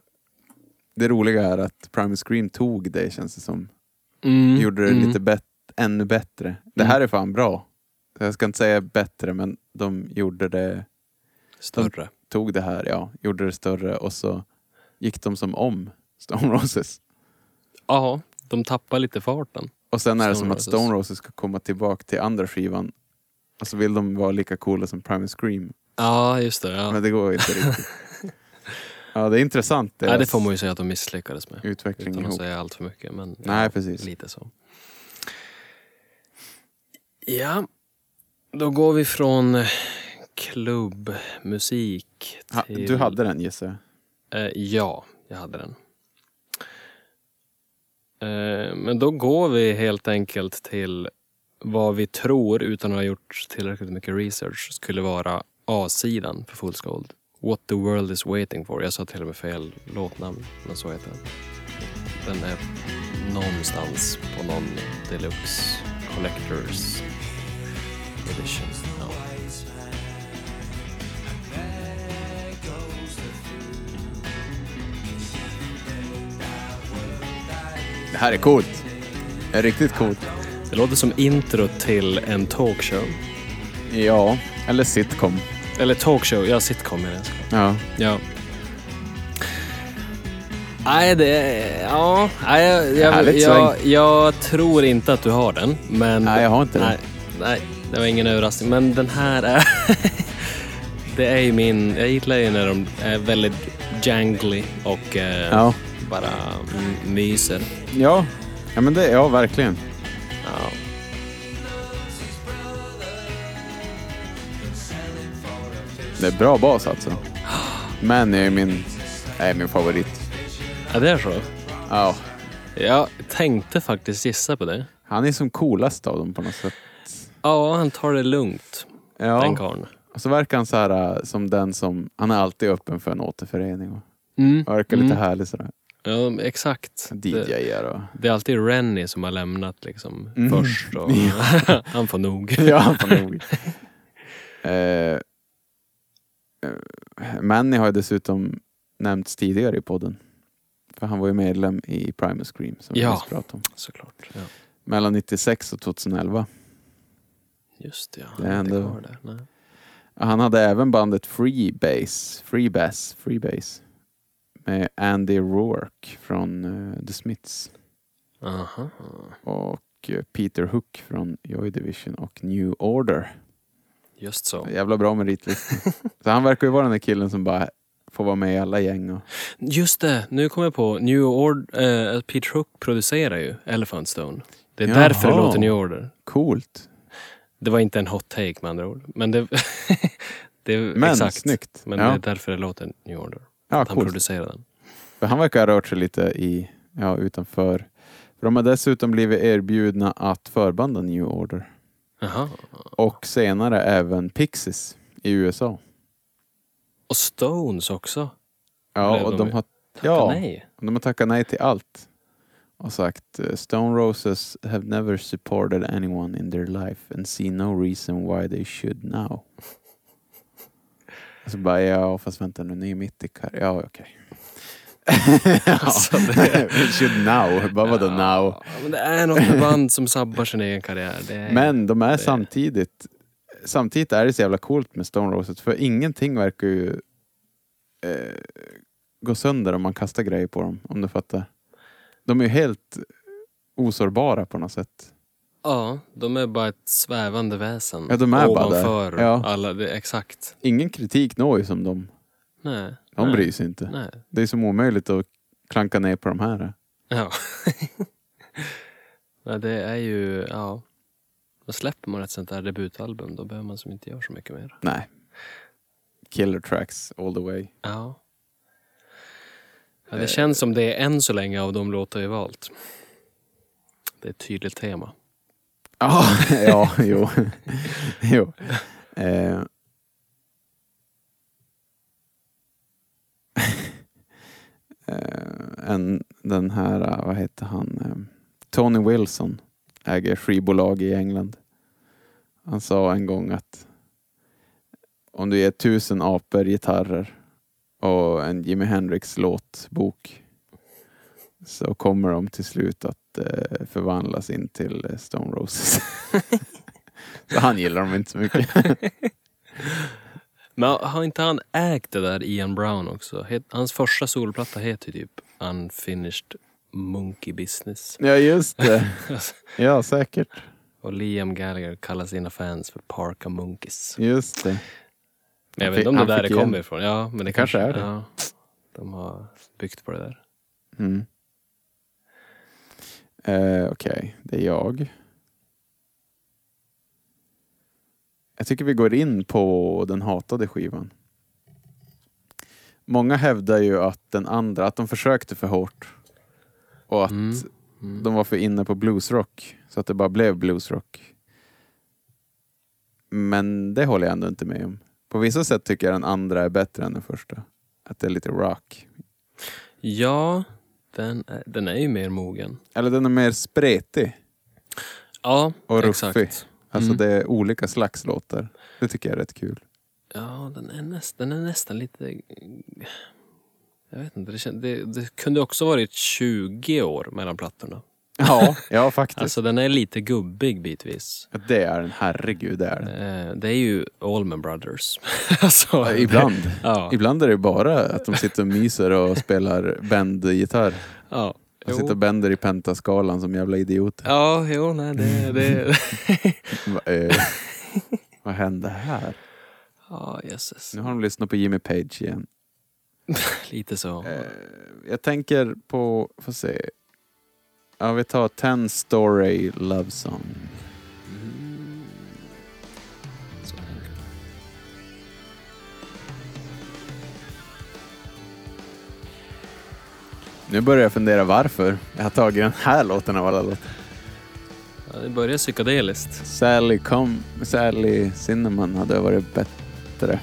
Speaker 2: det roliga är att Primal Scream tog det känns det som.
Speaker 1: Mm,
Speaker 2: Gjorde det
Speaker 1: mm.
Speaker 2: lite bet- ännu bättre. Det här är fan bra. Jag ska inte säga bättre men de gjorde det,
Speaker 1: större.
Speaker 2: tog det här, ja, gjorde det större och så gick de som om Stone Roses.
Speaker 1: Ja, de tappar lite farten.
Speaker 2: Och sen är det
Speaker 1: Stone
Speaker 2: som att
Speaker 1: Roses.
Speaker 2: Stone Roses ska komma tillbaka till andra skivan och så vill de vara lika coola som Primal Scream.
Speaker 1: Ja, just det. Ja.
Speaker 2: Men det går inte riktigt. Ja, det är intressant.
Speaker 1: Nej, det
Speaker 2: deras
Speaker 1: får man ju säga att de misslyckades med.
Speaker 2: Utveckling
Speaker 1: Utan att
Speaker 2: ihop.
Speaker 1: säga allt för mycket. Men
Speaker 2: Nej, precis.
Speaker 1: Lite så. Ja, då går vi från eh, klubbmusik
Speaker 2: Ha,
Speaker 1: till...
Speaker 2: du hade den gissar jag.
Speaker 1: Eh, ja, jag hade den. Eh, men då går vi helt enkelt till vad vi tror, utan att ha gjort tillräckligt mycket research, skulle vara A-sidan för Fools Gold. What the world is waiting for. Jag sa till och med fel låtnamn, men så heter den. Den är någonstans på någon deluxe collectors edition. Ja.
Speaker 2: Det här är coolt. Det är riktigt coolt.
Speaker 1: Det låter som intro till en talkshow.
Speaker 2: Ja, eller sitcom.
Speaker 1: Eller talkshow, ja sitcom menar jag såklart.
Speaker 2: Ja.
Speaker 1: Ja. Nej, det... Ja, nej, jag, jag,
Speaker 2: Härligt
Speaker 1: jag,
Speaker 2: sväng.
Speaker 1: jag tror inte att du har den. Men,
Speaker 2: Nej, jag har inte den.
Speaker 1: nej, Nej, det var ingen överraskning. Men den här är... det är ju min... Jag gillar ju när de är väldigt jangly och eh,
Speaker 2: Ja.
Speaker 1: bara mm, myser.
Speaker 2: Ja, ja men det, ja verkligen.
Speaker 1: Ja.
Speaker 2: Det är bra bas alltså. Man är ju min, är min favorit.
Speaker 1: ja, det är så.
Speaker 2: Ja,
Speaker 1: Jag tänkte faktiskt gissa på det.
Speaker 2: han är som coolast av dem på något sätt.
Speaker 1: Ja, han tar det lugnt, den
Speaker 2: Ja.
Speaker 1: karln.
Speaker 2: Och så verkar han så här äh, som den som, han är alltid öppen för en återförening. och
Speaker 1: Mm.
Speaker 2: Verkar lite härlig sådär.
Speaker 1: Ja, exakt. Det-
Speaker 2: DJ-ar och...
Speaker 1: Det är alltid Rennie som har lämnat liksom först och han får nog.
Speaker 2: Mm. Ja, han får nog. Eh, eh, Manny har ju dessutom nämnts tidigare i podden. För han var ju medlem i Primus Scream som vi
Speaker 1: Ja.
Speaker 2: nyss pratade om.
Speaker 1: Såklart. Ja.
Speaker 2: Mellan 96 och 2011.
Speaker 1: Just det, ja.
Speaker 2: Det
Speaker 1: Det är
Speaker 2: ändå-
Speaker 1: inte kvar där. Nej.
Speaker 2: Han hade även bandet Freebase, Freebass, Freebase med Andy Rourke från eh, The Smiths
Speaker 1: Aha.
Speaker 2: och eh, Peter Hook från Joy Division och New Order.
Speaker 1: Just så.
Speaker 2: Jävla bra meritlista. Så han verkar ju vara den där killen som bara får vara med i alla gäng. Och,
Speaker 1: Just det, nu kommer jag på. New Order, eh, Pete Hook producerar ju Elephant Stone. Det är
Speaker 2: Jaha.
Speaker 1: därför det låter New Order.
Speaker 2: coolt.
Speaker 1: Det var inte en hot take med andra ord. Men det... det är
Speaker 2: Men
Speaker 1: exakt.
Speaker 2: snyggt.
Speaker 1: Men
Speaker 2: ja.
Speaker 1: det är därför det låter New Order.
Speaker 2: ja,
Speaker 1: Att han
Speaker 2: coolt.
Speaker 1: producerade den.
Speaker 2: För han verkar ha rört sig lite i, ja, utanför. För de har dessutom blivit erbjudna att förbanda New Order.
Speaker 1: Jaha.
Speaker 2: Och senare även Pixies i USA.
Speaker 1: Och Stones också.
Speaker 2: Ja,
Speaker 1: Blev
Speaker 2: och
Speaker 1: de
Speaker 2: de har, ja,
Speaker 1: Nej.
Speaker 2: de har tackat nej till allt. Och sagt eh, Stone Roses have never supported anyone in their life and see no reason why they should now. Och så bara, ja fast vänta nu, ni är mitt i kar... Ja okej.
Speaker 1: Alltså, det-
Speaker 2: We should now, bara vadå now?
Speaker 1: Ja, men det är något med band som sabbar sin egen karriär. Det är...
Speaker 2: Men de är samtidigt, samtidigt är det så jävla coolt med Stone Roses för ingenting verkar ju eh, gå sönder om man kastar grejer på dem, om du fattar. De är ju helt osårbara på något sätt.
Speaker 1: Ja, de är bara ett svävande väsen.
Speaker 2: Ja, de är bara där.
Speaker 1: Ovanför
Speaker 2: Ja.
Speaker 1: alla, det, exakt.
Speaker 2: Ingen kritik når ju som de,
Speaker 1: Nej.
Speaker 2: de
Speaker 1: nej,
Speaker 2: bryr sig inte.
Speaker 1: Nej.
Speaker 2: Det är som omöjligt att klanka ner på de här.
Speaker 1: Ja. Nej, det är ju, ja. Då släpper man ett sånt där debutalbum, då behöver man som inte göra så mycket mer.
Speaker 2: Nej. Killer tracks all the way.
Speaker 1: Ja. ja
Speaker 2: Eh.
Speaker 1: det känns som det är än så länge av de låtar vi valt. Det är ett tydligt tema.
Speaker 2: Ja, ja jo. jo. Eh. Eh, en, den här, eh, vad heter han? Eh, Tony Wilson äger skivbolag i England. Han sa en gång att om du ger tusen apor gitarrer och en Jimi Hendrix låtbok så kommer de till slut att eh, förvandlas in till eh, Stone Roses. så han gillar dem inte så mycket.
Speaker 1: Men har inte han ägt det där Ian Brown också? Het- Hans första solplatta heter ju typ Unfinished Monkey Business.
Speaker 2: ja, just det. Ja, säkert.
Speaker 1: Alltså. Och Liam Gallagher kallar sina fans för Parka Monkeys.
Speaker 2: Just det.
Speaker 1: Men jag
Speaker 2: Han
Speaker 1: vet inte
Speaker 2: fick-
Speaker 1: om det
Speaker 2: han
Speaker 1: där det
Speaker 2: fick igen.
Speaker 1: kommer ifrån. Ja, men det
Speaker 2: Kanske
Speaker 1: kanske,
Speaker 2: är det.
Speaker 1: Ja, de har byggt på det där.
Speaker 2: Mm. Eh, Okej, det är jag. Jag tycker vi går in på den hatade skivan. Många hävdar ju att den andra, att de försökte för hårt. Och att
Speaker 1: Mm. Mm.
Speaker 2: de var för inne på bluesrock. Så att det bara blev bluesrock. Men det håller jag ändå inte med om. På vissa sätt tycker jag den andra är bättre än den första. Att det är lite rock.
Speaker 1: Ja, den är, den är ju mer mogen.
Speaker 2: Eller den är mer spretig.
Speaker 1: Ja,
Speaker 2: Och
Speaker 1: exakt.
Speaker 2: ruffig. Alltså
Speaker 1: Mm.
Speaker 2: det är olika slags låtar. Det tycker jag är rätt kul.
Speaker 1: Ja, den är, näst, den är nästan lite... Jag vet inte, det, kän- det, det kunde också varit 20 år mellan plattorna.
Speaker 2: Ja, ja faktiskt.
Speaker 1: Alltså den är lite gubbig bitvis.
Speaker 2: Ja, Det är den, herregud det är den.
Speaker 1: Eh, Det är ju Allman Brothers. alltså,
Speaker 2: Ja, Ibland.
Speaker 1: Ja.
Speaker 2: Ibland är det bara att de sitter och myser och spelar bändgitarr.
Speaker 1: ja.
Speaker 2: De
Speaker 1: Jo.
Speaker 2: sitter och bänder i pentaskalan som jävla idioter.
Speaker 1: Ja, jo, nej, det... det...
Speaker 2: Va- eh, Vad hände här?
Speaker 1: ja, jösses.
Speaker 2: Nu har de lyssnat på Jimmy Page igen.
Speaker 1: Lite så.
Speaker 2: Eh, jag tänker på, får se. Ja, vi tar 10 Story Love Song.
Speaker 1: så.
Speaker 2: Nu börjar jag fundera varför jag har tagit den här låten av alla låtar.
Speaker 1: Ja, det börjar psykedeliskt.
Speaker 2: Sally, com Sally Cinnamon hade varit bättre.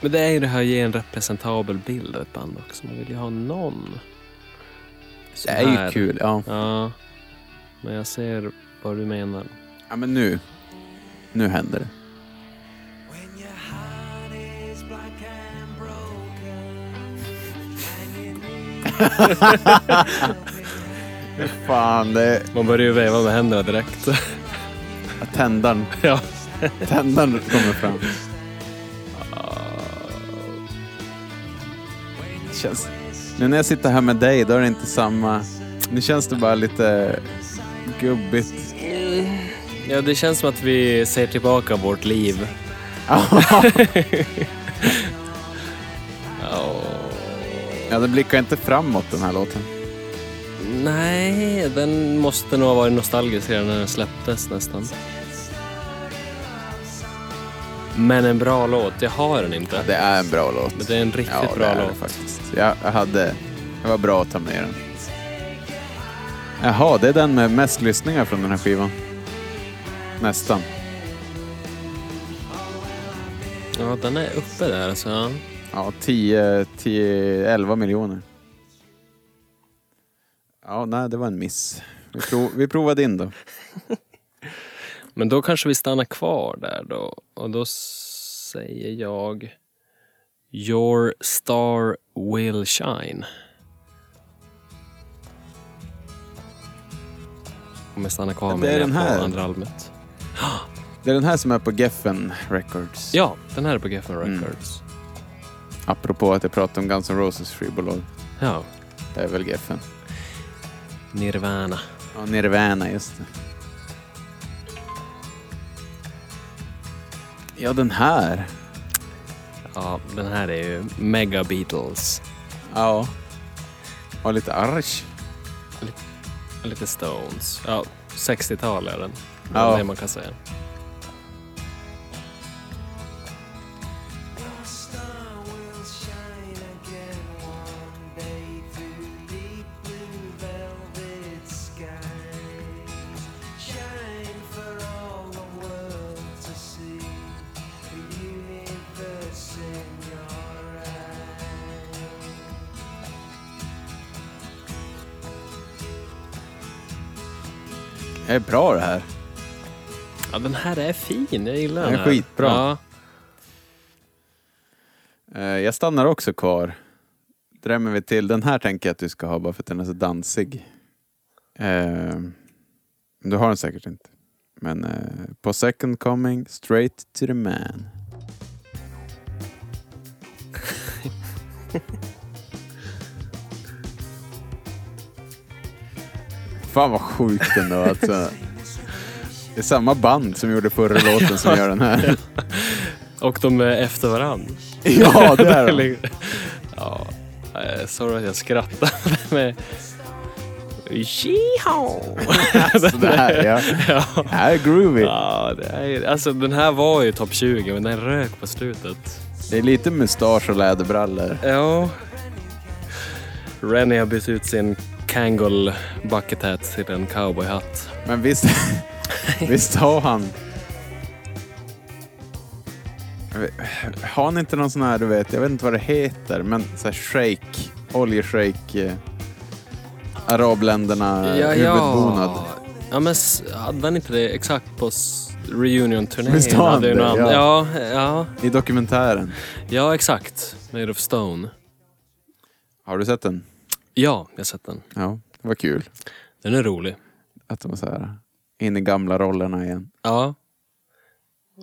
Speaker 1: Men det är ju det här att ge en representabel bild av ett band också. Man vill ju ha någon.
Speaker 2: Det
Speaker 1: som
Speaker 2: är ju
Speaker 1: här.
Speaker 2: kul. Ja.
Speaker 1: Ja. Men jag ser vad du menar.
Speaker 2: ja, men nu. Nu händer det.
Speaker 6: When your heart is black and broken, and you need
Speaker 2: Fan, det är
Speaker 1: Man börjar ju veva med händerna direkt.
Speaker 2: tändaren.
Speaker 1: ja.
Speaker 2: Tändaren kommer fram. Känns... Nu när jag sitter här med dig, då är det inte samma... Nu känns det bara lite gubbigt.
Speaker 1: ja, det känns som att vi ser tillbaka vårt liv.
Speaker 2: Ja, den blickar inte framåt den här låten.
Speaker 1: Nej, den måste nog ha varit nostalgisk redan när den släpptes nästan. Men en bra låt, jag har den inte.
Speaker 2: Det är en bra låt.
Speaker 1: Men det är en riktigt
Speaker 2: ja, det
Speaker 1: bra
Speaker 2: är det
Speaker 1: låt.
Speaker 2: faktiskt. Jag, jag hade... Det var bra att ta med den. Jaha, det är den med mest lyssningar från den här skivan. Nästan.
Speaker 1: Ja, den är uppe där alltså. Ja.
Speaker 2: Ja, 10, 10, 11 miljoner. Ja, nej, det var en miss. Vi, prov, vi provade in då.
Speaker 1: Men då kanske vi stannar kvar där då. Och då säger jag Your star will shine. Om jag stannar kvar
Speaker 2: Det
Speaker 1: med
Speaker 2: är
Speaker 1: det
Speaker 2: den här.
Speaker 1: på andra albumet.
Speaker 2: Det är den här som är på Geffen Records.
Speaker 1: Ja, den här är på Geffen
Speaker 2: Mm.
Speaker 1: Records.
Speaker 2: Apropå att jag pratade om Guns N' Roses skivbolag.
Speaker 1: Ja,
Speaker 2: Det är väl Geffen.
Speaker 1: Nirvana.
Speaker 2: Ja, Nirvana, just det. Ja, den här.
Speaker 1: Ja, den här är ju Mega Beatles.
Speaker 2: Ja. Och lite arsch.
Speaker 1: Lite Stones. Ja, 60-tal är den. Det
Speaker 2: Ja.
Speaker 1: är det man kan säga.
Speaker 2: Det är bra det här.
Speaker 1: Ja, den här är fin. Jag gillar den.
Speaker 2: Den är
Speaker 1: här.
Speaker 2: skitbra.
Speaker 1: Ja,
Speaker 2: Eh, Jag stannar också kvar. Drämmer vi till. Den här tänker jag att du ska ha bara för att den är så dansig. Eh, Du har den säkert inte. Men eh, på Second Coming, Straight to the Man. Fan vad sjukt ändå alltså. Det är samma band som gjorde förra låten som gör den här.
Speaker 1: och de är efter varandra.
Speaker 2: ja, det är de.
Speaker 1: Ja, eh, sorry att jag skrattade. Men... Yeehaw!
Speaker 2: Sådär, ja. Det här är groovy.
Speaker 1: Ja, det är, alltså den här var ju topp 20, men den rök på slutet.
Speaker 2: Det är lite mustasch och läderbrallor.
Speaker 1: Ja. Rennie har bytt ut sin Kangol bucket hat till en cowboyhatt.
Speaker 2: Men visst, visst har han... Har han inte någon sån här, du vet, jag vet inte vad det heter, men så här shake, oljeshake, eh, arabländerna, huvudbonad.
Speaker 1: Ja, men s- hade han inte det exakt på s- reunion-turnén?
Speaker 2: Visst har han
Speaker 1: Hade ju
Speaker 2: det,
Speaker 1: någon annan-
Speaker 2: ja.
Speaker 1: ja, ja.
Speaker 2: I dokumentären.
Speaker 1: Ja, exakt. Made of Stone.
Speaker 2: Har du sett den?
Speaker 1: Ja, jag har sett den.
Speaker 2: Ja, det var kul
Speaker 1: Den är rolig.
Speaker 2: att de var så här in i gamla rollerna igen.
Speaker 1: Ja.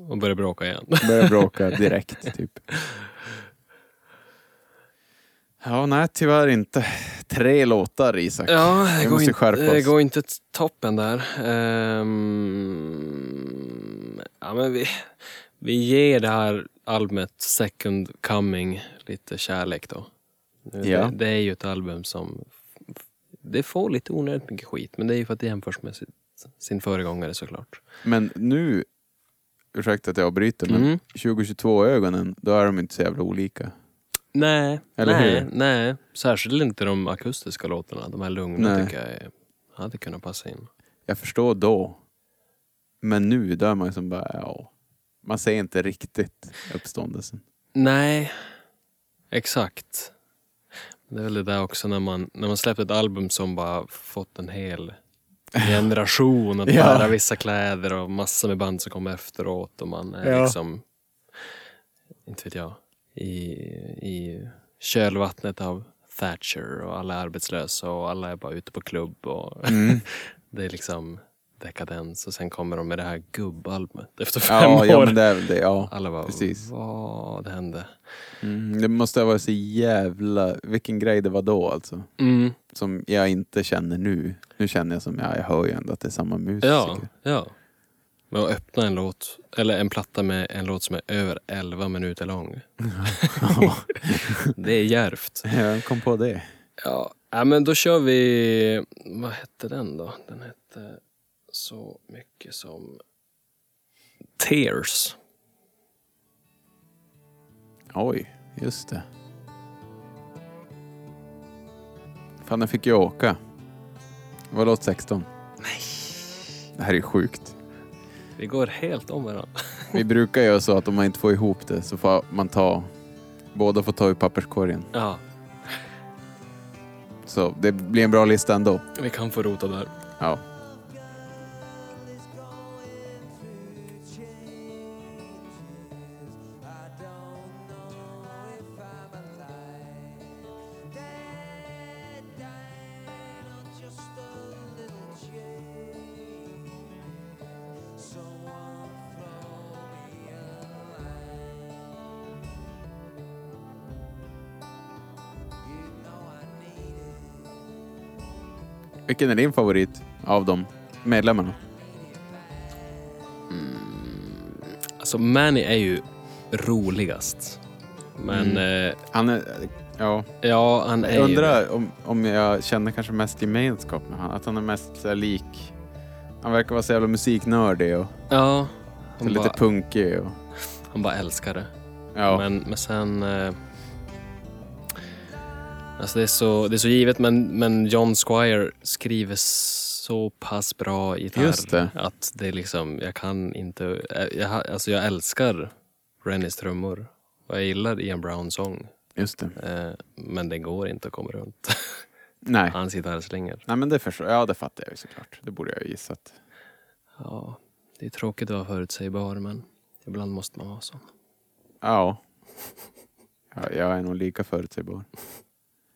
Speaker 1: Och börjar bråka igen.
Speaker 2: Börjar bråka direkt, typ. Ja, nej, tyvärr inte. Tre låtar, Isak.
Speaker 1: Ja, det
Speaker 2: Vi
Speaker 1: går,
Speaker 2: måste
Speaker 1: inte,
Speaker 2: skärpa
Speaker 1: det
Speaker 2: oss.
Speaker 1: går inte t- toppen där. Ehm, ja, men vi, vi ger det här albumet Second Coming lite kärlek då. Nu,
Speaker 2: Ja.
Speaker 1: Det, det är ju ett album som f- det får lite onödigt mycket skit, men det är ju för att det jämförs med sitt, sin föregångare såklart.
Speaker 2: Men nu, ursäkta att jag avbryter, men
Speaker 1: Mm.
Speaker 2: 2022-ögonen, då är de inte så jävla olika.
Speaker 1: Nej,
Speaker 2: Eller
Speaker 1: nej,
Speaker 2: hur?
Speaker 1: nej. Särskilt inte de akustiska låtarna. De här lugna
Speaker 2: Nej.
Speaker 1: tycker jag är- hade kunnat passa in.
Speaker 2: Jag förstår då, men nu, då är man ju som bara, ja. Man ser inte riktigt uppståndelsen.
Speaker 1: Nej, exakt. Det är väl det där också när man, när man släpper ett album som bara fått en hel generation att
Speaker 2: Ja.
Speaker 1: bära vissa kläder och massor med band som kommer efteråt och man är liksom, inte vet jag, i, i kölvattnet av Thatcher och alla är arbetslösa och alla är bara ute på klubb. Och
Speaker 2: Mm.
Speaker 1: det är liksom dekadens. Och sen kommer de med det här gubbalbumet efter fem
Speaker 2: Ja,
Speaker 1: år.
Speaker 2: ja men det är väl det. Ja.
Speaker 1: alla bara,
Speaker 2: precis.
Speaker 1: vad hände?
Speaker 2: Mm, det måste ha varit så jävla... Vilken grej det var då alltså.
Speaker 1: Mm.
Speaker 2: Som jag inte känner nu. Nu känner jag som, ja, jag hör ju ändå att det är samma musiker.
Speaker 1: Ja, ja. Men att öppna en låt, eller en platta med en låt som är över 11 minuter lång. det är djärvt.
Speaker 2: Jag kom på det.
Speaker 1: Ja, ja, men då kör vi... Vad hette den då? Den hette så mycket som... Tears.
Speaker 2: Oj, just det. Fan, jag fick ju åka. Det var låt 16. Nej. Det här är ju sjukt.
Speaker 1: Vi går helt om varandra.
Speaker 2: Vi brukar göra så att om man inte får ihop det så får man ta... Båda får ta i papperskorgen.
Speaker 1: Ja,
Speaker 2: Så det blir en bra lista ändå.
Speaker 1: vi kan få rota där.
Speaker 2: Ja. Vilken är din favorit av dem? Medlemmarna?
Speaker 1: Alltså, Manny är ju roligast. Men eh,
Speaker 2: Han är... Ja.
Speaker 1: ja, han är
Speaker 2: Mm. Jag
Speaker 1: ju...
Speaker 2: undrar om, om jag känner kanske mest gemenskap med honom. Att han är mest så här lik... Han verkar vara så jävla musiknördig och
Speaker 1: Ja,
Speaker 2: så
Speaker 1: han
Speaker 2: lite
Speaker 1: bara,
Speaker 2: punkig. Och,
Speaker 1: han bara älskar det.
Speaker 2: ja.
Speaker 1: Men, men sen... Eh, alltså det är så, det är så givet, men, men John Squire skriver så pass bra gitarr
Speaker 2: Just det.
Speaker 1: att det är liksom, jag kan inte... eh, Jag, ha- alltså jag älskar Rennys trummor och jag gillar Ian Browns sång.
Speaker 2: Just det.
Speaker 1: Eh, men det går inte att komma runt
Speaker 2: Nej.
Speaker 1: hans gitarrslingor.
Speaker 2: Nej men det förstår jag. Ja det fattar jag ju såklart. Det borde jag ju gissat.
Speaker 1: Ja, det är tråkigt att vara förutsägbar, men ibland måste man vara sån.
Speaker 2: Ja. ja jag är nog lika förutsägbar.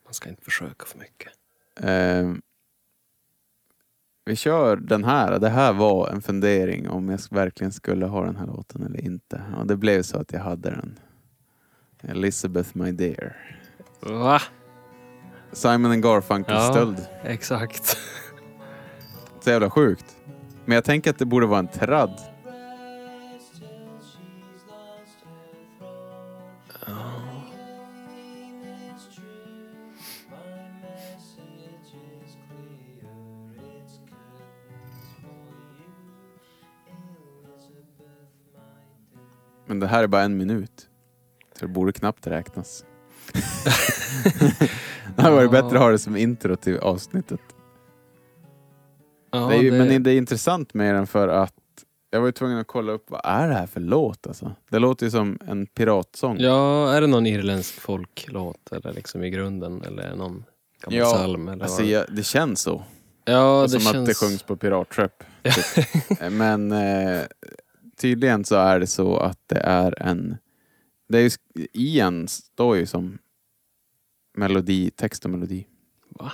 Speaker 1: Man ska inte försöka för mycket.
Speaker 2: Ehm, vi kör den här. Det här var en fundering om jag verkligen skulle ha den här låten eller inte. Och det blev så att jag hade den. Elizabeth My Dear.
Speaker 1: Va?
Speaker 2: Simon and Garfunkel-stöld.
Speaker 1: exakt.
Speaker 2: Så jävla sjukt. Men jag tänker att det borde vara en tradd. Men det här är bara en minut. Så det borde knappt räknas. det hade varit bättre att ha det som intro till avsnittet.
Speaker 1: Ja,
Speaker 2: det är ju, Men det är intressant med den för att jag var ju tvungen att kolla upp vad är det här för låt alltså. Det låter ju som en piratsång.
Speaker 1: Ja, är det någon irländsk folklåt eller liksom i grunden eller någon gammal
Speaker 2: Ja,
Speaker 1: psalm? Eller
Speaker 2: alltså,
Speaker 1: vad?
Speaker 2: jag, det känns så.
Speaker 1: ja, det
Speaker 2: som
Speaker 1: känns...
Speaker 2: att det sjungs på piratskepp. Typ. men eh, tydligen så är det så att det är en... Det är ju, sk- Ian står ju som melodi, text och melodi.
Speaker 1: Va?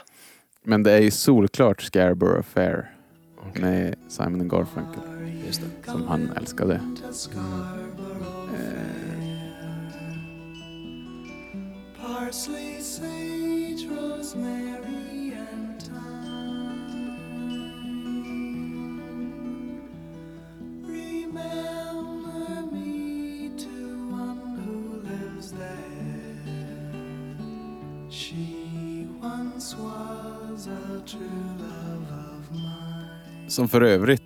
Speaker 2: Men det är ju solklart Scarborough Fair med Simon and Garfunkel.
Speaker 1: Just det.
Speaker 2: som han älskade. Eh,
Speaker 7: Parsley, sage, rosemary, and thyme. Remember me to one who lives there. She once was a true love of mine.
Speaker 2: Som för övrigt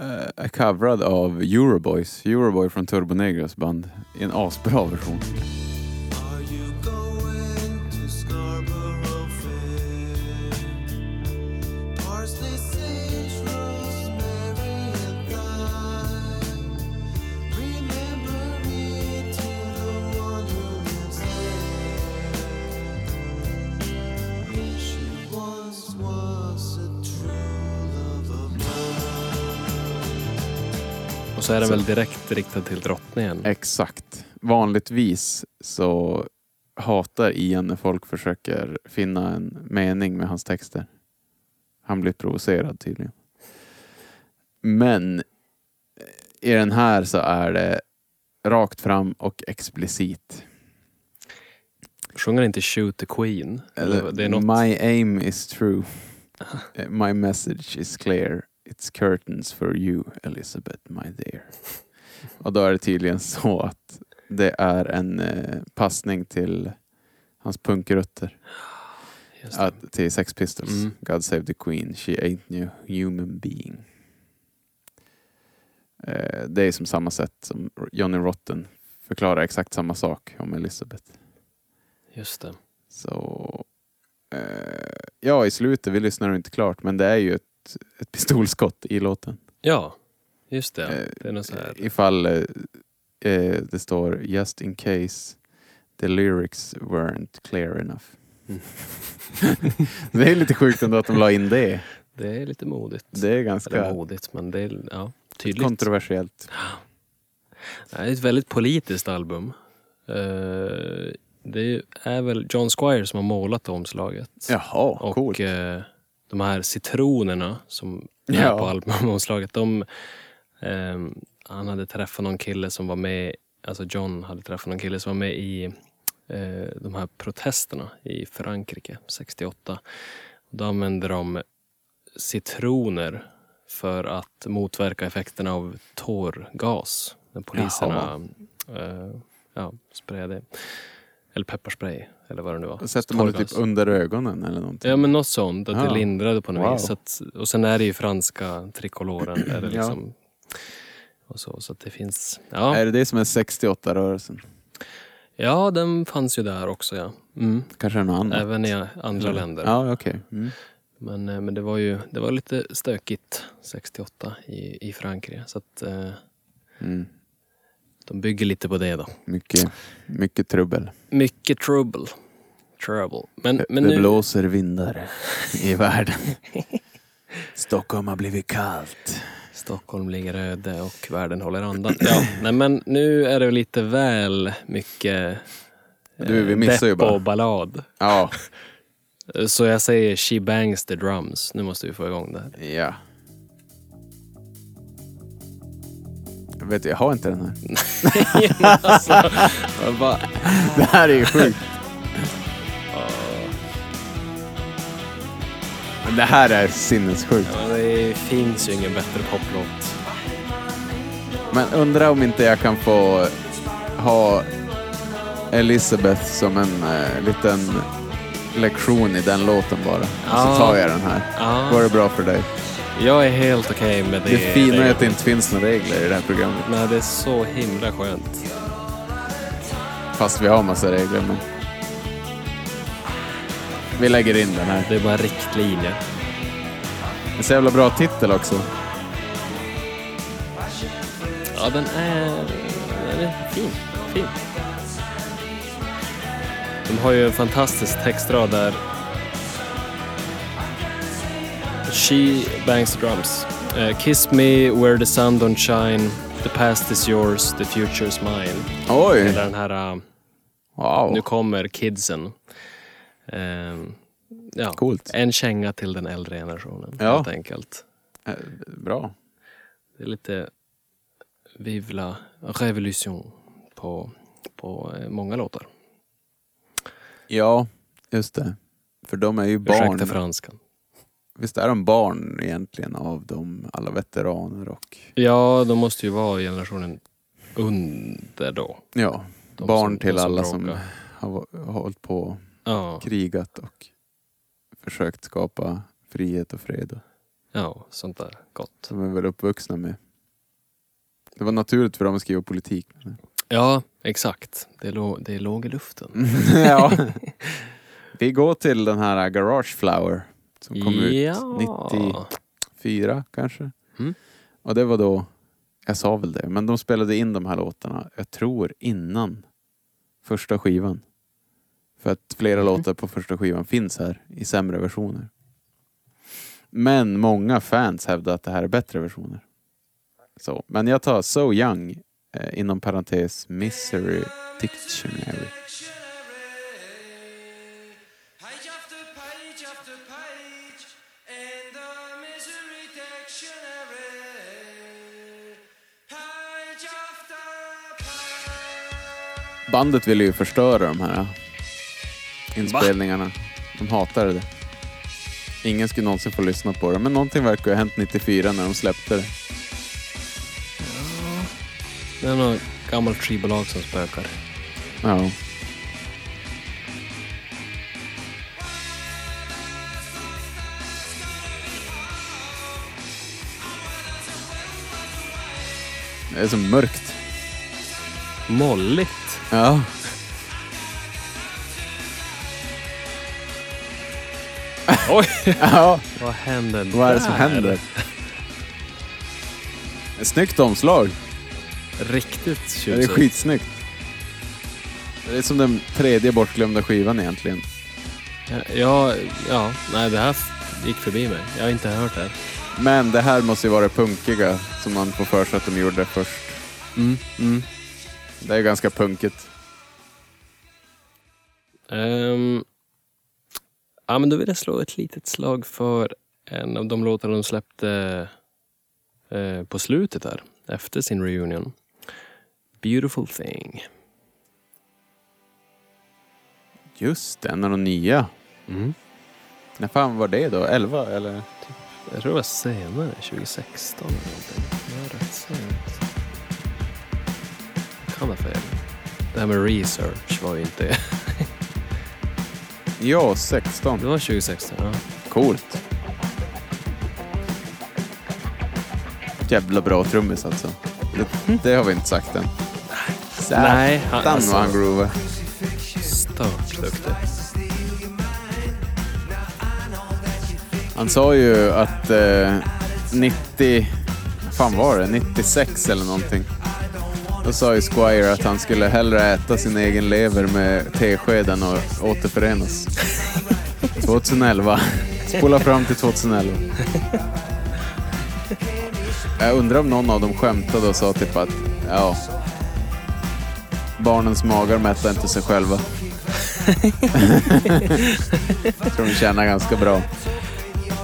Speaker 2: eh, är coverad av Euroboys. Euroboy från Turbo Negros band. I en asbra version.
Speaker 7: Are you going to Scarborough Fair? Parsley, sage, rosemary, and thyme. Remember me to the one who lives there. She once was a true love of
Speaker 1: Och
Speaker 2: Eh.
Speaker 1: så är den väl direkt riktad till drottningen.
Speaker 2: Exakt. Vanligtvis så hatar Ian när folk försöker finna en mening med hans texter. Han blir provocerad tydligen. Men eh, i den här så är det rakt fram och explicit.
Speaker 1: Sjunger han inte Shoot the Queen? Eller, det är något...
Speaker 2: My aim is true. Eh, My message is clear. It's curtains for you, Elizabeth, my dear. Och då är det tydligen så att det är en eh, passning till hans punkrutter.
Speaker 1: Just det.
Speaker 2: Att, till Sex Pistols.
Speaker 1: Mm.
Speaker 2: God save the Queen, she ain't a human being. Eh, det är som samma sätt som Johnny Rotten förklarar exakt samma sak om Elizabeth.
Speaker 1: Just det.
Speaker 2: Så... Eh, ja, i slutet, vi lyssnar inte klart, men det är ju ett, ett pistolskott i låten.
Speaker 1: Ja, just det.
Speaker 2: Eh,
Speaker 1: Det är något så här.
Speaker 2: Ifall eh, eh, det står just in case the lyrics weren't clear enough.
Speaker 1: Mm.
Speaker 2: det är lite sjukt ändå att de la in det.
Speaker 1: Det är lite modigt.
Speaker 2: Det är
Speaker 1: Eller
Speaker 2: ganska
Speaker 1: modigt, men det är ja, tydligt.
Speaker 2: kontroversiellt.
Speaker 1: Det är ett väldigt politiskt album. Eh, det är väl John Squire som har målat omslaget.
Speaker 2: Jaha,
Speaker 1: Och
Speaker 2: coolt.
Speaker 1: eh, de här citronerna som är
Speaker 2: Ja.
Speaker 1: på albumomslaget. De, ehm, han hade träffat någon kille som var med, alltså John hade träffat någon kille som var med i eh, de här protesterna i Frankrike 68. Då använde de citroner för att motverka effekterna av tårgas. När poliserna eh, ja, sprayade, eller pepparspray eller vad det nu var.
Speaker 2: Sätter man det typ
Speaker 1: Tårgas.
Speaker 2: under ögonen eller någonting?
Speaker 1: Ja, men något sånt. Att
Speaker 2: Ja.
Speaker 1: det lindrade på något
Speaker 2: Wow.
Speaker 1: vis. Så att, och sen är det ju franska tricoloren. Där det
Speaker 2: Ja.
Speaker 1: liksom, och så, så att det finns... Ja.
Speaker 2: Är det det som är 68-rörelsen?
Speaker 1: ja, den fanns ju där också. ja. Mm.
Speaker 2: Kanske är det något annat?
Speaker 1: Även i andra länder.
Speaker 2: Ja, okej. Mm.
Speaker 1: Men, eh, men det var ju det var lite stökigt 68 i, i Frankrike. Så att eh,
Speaker 2: Mm.
Speaker 1: de bygger lite på det då.
Speaker 2: Mycket, mycket trubbel.
Speaker 1: Mycket trouble. Trouble. Men, men
Speaker 2: det
Speaker 1: nu...
Speaker 2: blåser vindar i världen. Stockholm har blivit kallt.
Speaker 1: Stockholm ligger öde och världen håller andan. Ja, nej, men nu är det väl lite väl mycket
Speaker 2: Du, vi
Speaker 1: eh,
Speaker 2: missar ju
Speaker 1: depp
Speaker 2: bara.
Speaker 1: och ballad.
Speaker 2: Ja,
Speaker 1: Eh, Så jag säger She bangs the drums. Nu måste vi få igång det här.
Speaker 2: ja. Jag vet, jag har inte den här.
Speaker 1: Alltså,
Speaker 2: Jag bara, det här är ju sjukt. Men det här är sinnessjukt.
Speaker 1: Ja, det finns ju ingen bättre poplåt.
Speaker 2: Men undrar om inte jag kan få ha Elisabeth som en eh, liten lektion i den låten bara. Och
Speaker 1: Ja.
Speaker 2: så tar jag den här.
Speaker 1: Ja.
Speaker 2: Går det bra för dig?
Speaker 1: Jag är helt okej med Ah. det.
Speaker 2: Det fina är att det
Speaker 1: det
Speaker 2: inte finns några regler i det här programmet.
Speaker 1: Nej, det är så himla skönt.
Speaker 2: Fast vi har massa regler. Men... Vi lägger in den här.
Speaker 1: Det är bara riktlinjer.
Speaker 2: En så jävla bra titel också.
Speaker 1: Ja, den är, den är fin. fin. De har ju en fantastisk textrad där. She bangs the drums. Eh, kiss me where the sun don't shine. The past is yours, the future's mine.
Speaker 2: Oj!
Speaker 1: Eller den här, ah,
Speaker 2: Wow.
Speaker 1: nu kommer kidsen. Ehm, ja.
Speaker 2: Coolt.
Speaker 1: En känga till den äldre generationen
Speaker 2: Ja.
Speaker 1: helt enkelt.
Speaker 2: Eh, Bra.
Speaker 1: Det är lite Vive la revolution på, på eh, många låtar.
Speaker 2: Ja, just det. För de är ju
Speaker 1: Ursäkta
Speaker 2: barn.
Speaker 1: franskan.
Speaker 2: Visst är de barn egentligen av de alla veteraner och
Speaker 1: Ja, de måste ju vara generationen under då.
Speaker 2: ja,
Speaker 1: De
Speaker 2: barn
Speaker 1: som- de
Speaker 2: till
Speaker 1: som
Speaker 2: alla som
Speaker 1: bråkar.
Speaker 2: har va- hållit på och
Speaker 1: Ja,
Speaker 2: krigat och försökt skapa frihet och fred. och
Speaker 1: ja, sånt där gott.
Speaker 2: Som är väl uppvuxna med. Det var naturligt för dem att skriva politik.
Speaker 1: Ja, exakt. Det, lå- det låg i luften.
Speaker 2: ja. Vi går till den här Garage Flower som kom
Speaker 1: ja.
Speaker 2: ut 90 fyra kanske.
Speaker 1: Mm.
Speaker 2: Och det var då, jag sa väl det, men de spelade in de här låtarna, jag tror innan första skivan. För att flera låtar på första skivan finns här i sämre versioner. Men många fans hävdar att det här är bättre versioner. Så, men jag tar So Young, eh, inom parentes Misery Dictionary. Bandet ville ju förstöra de här inspelningarna. De hatade det. Ingen skulle någonsin få lyssna på det, men någonting verkar ha hänt 94 när de släppte det.
Speaker 1: Det är något gammalt skivbolag som spökar.
Speaker 2: Ja. Det är så mörkt.
Speaker 1: Molligt.
Speaker 2: Ja.
Speaker 1: Oj!
Speaker 2: ja.
Speaker 1: Vad händer
Speaker 2: Vad är det som
Speaker 1: där?
Speaker 2: händer? Ett snyggt omslag.
Speaker 1: Riktigt
Speaker 2: Det är
Speaker 1: tjusigt.
Speaker 2: skitsnyggt. Det är som den tredje bortglömda skivan egentligen.
Speaker 1: Ja, ja, nej det här f- gick förbi mig. Jag har inte hört det. här.
Speaker 2: Men det här måste ju vara det punkiga som man får för sig att de gjorde först.
Speaker 1: Mm,
Speaker 2: Det är ganska punkigt.
Speaker 1: Ehm, ja, men då vill jag slå ett litet slag för en av de låtar de släppte eh, på slutet där, efter sin reunion. Beautiful thing.
Speaker 2: Just det, en av de nya.
Speaker 1: Mm.
Speaker 2: När fan var det då? 11 eller?
Speaker 1: Jag tror det var senare, 2016 eller någonting. Det var rätt sent. Jag kan ha fel. Det här med research var ju inte...
Speaker 2: Ja,
Speaker 1: Det
Speaker 2: 16.
Speaker 1: var 2016, ja.
Speaker 2: Coolt. Jävla bra trummis alltså. Det, det har vi inte sagt än.
Speaker 1: Mm. Nej, han-
Speaker 2: han, alltså.
Speaker 1: alltså-
Speaker 2: han groove.
Speaker 1: Stört duktig.
Speaker 2: Han sa ju att eh, 90... vad fan var det? 96 eller någonting. Då sa ju Squire att han skulle hellre äta sin egen lever med teskeden och återförenas. 2011. Spola fram till 2011. Jag undrar om någon av dem skämtade och sa typ att ja, barnens magar mättar inte sig själva. Jag tror de tjänar ganska bra.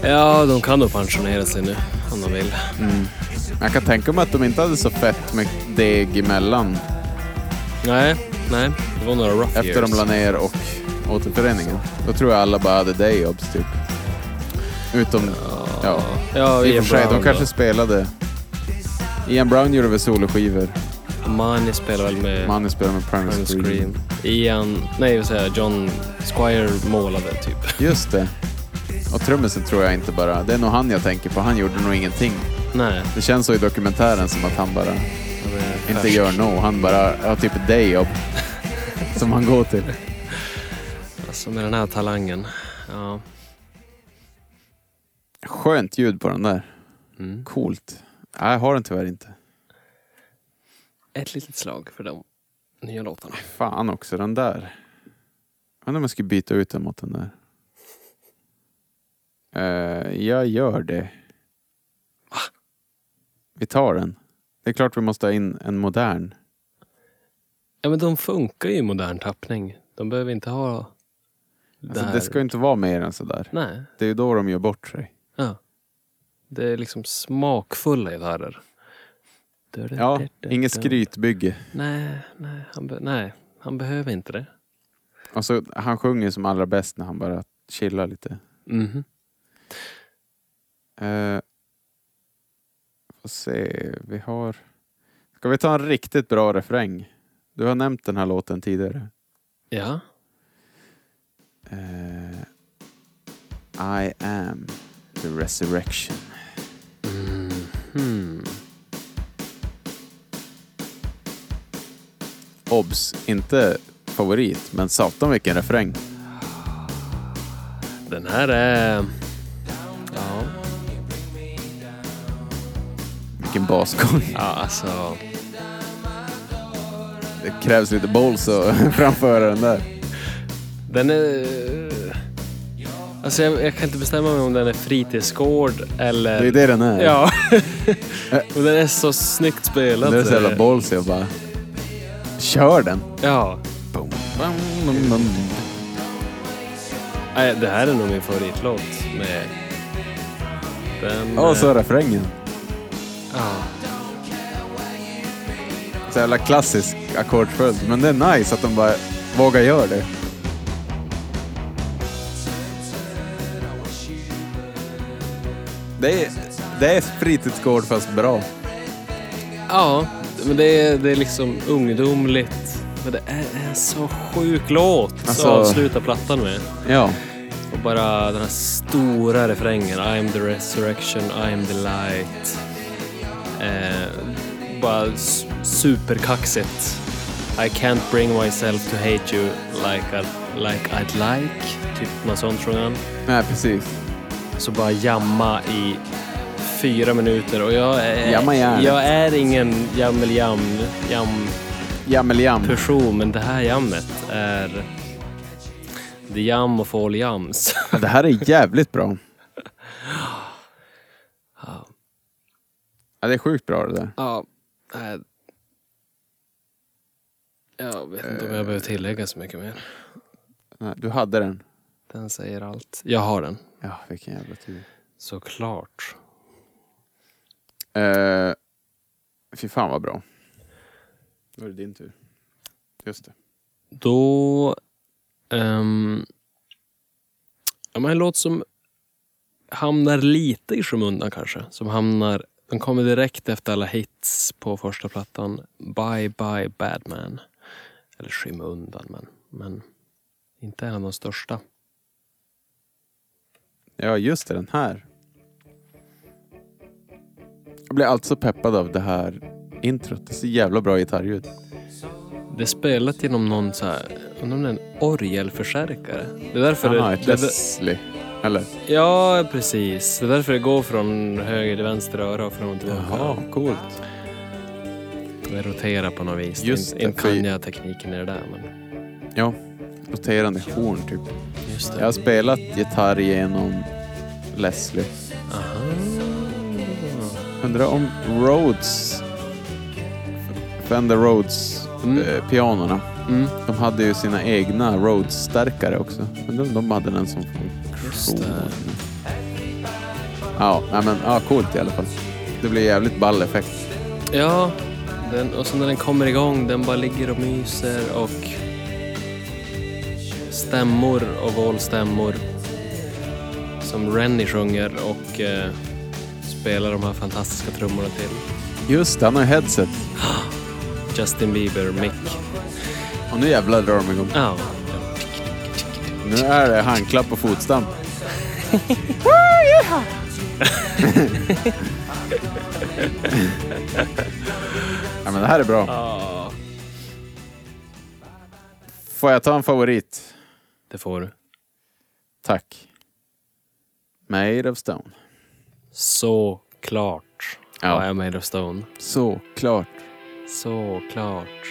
Speaker 1: Ja, de kan nog pensionera sig nu om de vill.
Speaker 2: Jag kan tänka mig att de inte hade så fett med deg emellan
Speaker 1: Nej, nej. Det var några rough
Speaker 2: efter
Speaker 1: years.
Speaker 2: de la ner och återföreningen. Då tror jag alla bara hade dayjobs typ. Utom, ja.
Speaker 1: Ja,
Speaker 2: I och för sig, de kanske
Speaker 1: kanske...
Speaker 2: spelade. Ian Brown gjorde väl soloskivor.
Speaker 1: Money spelar väl med
Speaker 2: Manny spelade med
Speaker 1: Primal
Speaker 2: Primal Scream.
Speaker 1: Scream. Ian... Nej, vad säger jag? John Squire målade typ.
Speaker 2: Just det. Och trummisen tror jag inte bara, det är nog han jag tänker på. Han gjorde nog ingenting.
Speaker 1: Nej.
Speaker 2: Det känns så i dokumentären som att han bara
Speaker 1: de är
Speaker 2: inte
Speaker 1: färsk.
Speaker 2: gör något. Han bara har typ ett dayjobb som han går till.
Speaker 1: Alltså med den här talangen. Ja.
Speaker 2: Skönt ljud på den där.
Speaker 1: Mm.
Speaker 2: Coolt. Nej, jag har den tyvärr inte.
Speaker 1: Ett litet slag för de nya låtarna.
Speaker 2: Fan också, den där. Undrar om jag skulle byta ut den mot den där. Eh, jag gör det. Vi tar den. Det är klart vi måste ha in en modern.
Speaker 1: Ja, men de funkar ju i modern tappning. De behöver inte ha...
Speaker 2: Alltså,
Speaker 1: där.
Speaker 2: det ska ju inte vara mer än sådär.
Speaker 1: Nej.
Speaker 2: Det är ju då de gör bort sig.
Speaker 1: Ja. Det är liksom smakfulla gitarrer. Du- du-
Speaker 2: Ja,
Speaker 1: du- du-
Speaker 2: inget
Speaker 1: du.
Speaker 2: skrytbygge.
Speaker 1: Nej, nej han, be- nej, han behöver inte det.
Speaker 2: Alltså, han sjunger som allra bäst när han bara chillar lite.
Speaker 1: Mhm.
Speaker 2: Eh, får se, vi har... Ska vi ta en riktigt bra refräng? Du har nämnt den här låten tidigare.
Speaker 1: Ja.
Speaker 2: Eh, I am the resurrection. Mhm.
Speaker 1: Hmm.
Speaker 2: Obs! Inte favorit, men satan vilken refräng.
Speaker 1: Den här är... Ja,
Speaker 2: Vilken basgång.
Speaker 1: ja alltså...
Speaker 2: Det krävs lite balls att framföra den där.
Speaker 1: Den är... Alltså jag, jag kan inte bestämma mig om den är fritidsgård eller...
Speaker 2: Det är det den är. Äh.
Speaker 1: Ja. Och den är så snyggt spelad.
Speaker 2: Den är så jävla ballsy och bara... Kör den!
Speaker 1: Ja.
Speaker 2: Mm,
Speaker 1: Nej, det här är nog min favoritlåt med... Den...
Speaker 2: Och
Speaker 1: eh,
Speaker 2: så refrängen.
Speaker 1: ja.
Speaker 2: Så jävla klassisk. ackordsföljd. Men det är nice att de bara vågar göra det. Det är, det är spritidsgård fast bra.
Speaker 1: Ja, men det är, det är liksom ungdomligt. Men det är en så sjuk låt
Speaker 2: Alltså-
Speaker 1: att avsluta plattan med.
Speaker 2: Ja.
Speaker 1: Och bara den här stora refrängen. I am the resurrection, I am the light. Eh, bara s- superkaxigt. I can't bring myself to hate you like, I, like I'd like. Typ något sånt sjunger han.
Speaker 2: Nej, precis.
Speaker 1: Så bara jamma i fyra minuter och jag är,
Speaker 2: Jamma gärna.
Speaker 1: jag är ingen jammel-jam jam
Speaker 2: Jammel-jam.
Speaker 1: person men det här jammet är the jam of all jams.
Speaker 2: Det här är jävligt bra. Ja, det är sjukt bra det där.
Speaker 1: Ja, nej. Jag vet inte om jag behöver tillägga så mycket mer.
Speaker 2: Nej, Du hade den.
Speaker 1: Den säger allt. Jag har den,
Speaker 2: Ja, vilken jävla tur.
Speaker 1: såklart.
Speaker 2: Uh, fy fan vad bra. Då är det din tur. Just det.
Speaker 1: Då... ehm, ja, men en låt som hamnar lite i skymundan kanske. Som hamnar, den kommer direkt efter alla hits på första plattan. Bye Bye Badman. Eller skymundan, men, men inte en av de största.
Speaker 2: Ja, just det. Den här. Jag blir alltså peppad av det här introt. Det är så jävla bra gitarrljud.
Speaker 1: Det är spelat genom någon så här, undrar om det är en orgelförstärkare. Det är därför
Speaker 2: Jaha,
Speaker 1: det,
Speaker 2: ett
Speaker 1: det,
Speaker 2: Leslie. Eller?
Speaker 1: Ja, precis. Det är därför det går från höger till vänster öra och fram och tillbaka.
Speaker 2: Jaha, coolt.
Speaker 1: Det roterar på något vis.
Speaker 2: Just
Speaker 1: inte inte
Speaker 2: det, för-
Speaker 1: kan jag tekniken i det där. Men
Speaker 2: Ja, roterande horn typ.
Speaker 1: just
Speaker 2: Jag har spelat gitarr genom Leslie.
Speaker 1: Aha.
Speaker 2: Undrar om Rhodes, Fender Rhodes
Speaker 1: Mm.
Speaker 2: eh, pianorna,
Speaker 1: Mm.
Speaker 2: de hade ju sina egna Rhodes-stärkare också. Undrar om de hade den som funktion.
Speaker 1: det.
Speaker 2: Ja, nej men ja, coolt i alla fall. Det blir jävligt ball effekt.
Speaker 1: Ja, den, och så när den kommer igång, den bara ligger och myser och stämmor och vålstämmor som Rennie sjunger och eh, spelar de här fantastiska trummorna till.
Speaker 2: Just det, han har ju headset.
Speaker 1: Justin Bieber, Mick.
Speaker 2: Och nu jävlar drar de igång.
Speaker 1: Ja.
Speaker 2: Nu är det handklapp och fotstamp. ja, men det här är bra. Får jag ta en favorit?
Speaker 1: Det får du.
Speaker 2: Tack. Made of Stone.
Speaker 1: Såklart
Speaker 2: Ja.
Speaker 1: har jag Made of Stone.
Speaker 2: Såklart.
Speaker 1: Såklart.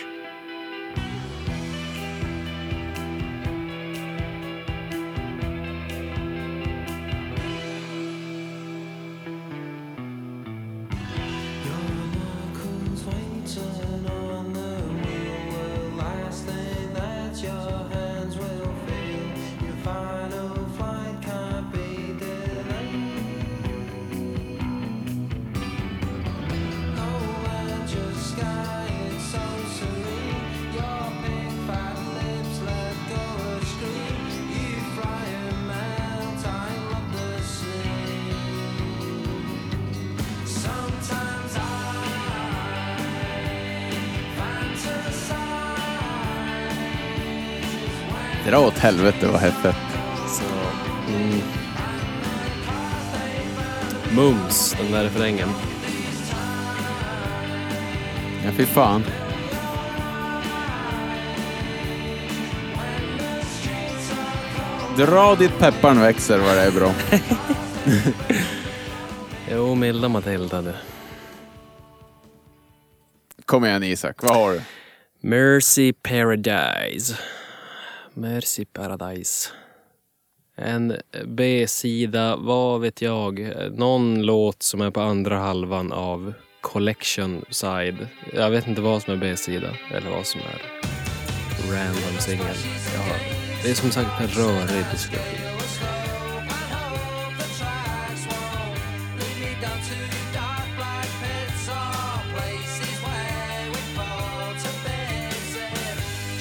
Speaker 2: Dra åt helvete vad hett
Speaker 1: Så, mm. Mums, den där refrängen.
Speaker 2: Ja, fy fan. Dra dit pepparn växer vad det är bra.
Speaker 1: Jo, milda Matilda du.
Speaker 2: Kom igen Isak, vad har du?
Speaker 1: Mercy Paradise. Mercy Paradise. En B-sida, vad vet jag. Någon låt som är på andra halvan av Collection Side. Jag vet inte vad som är B-sida eller vad som är random singel. Jag har- Det är som sagt en rörig diskografi.
Speaker 7: Places where we fall to bed.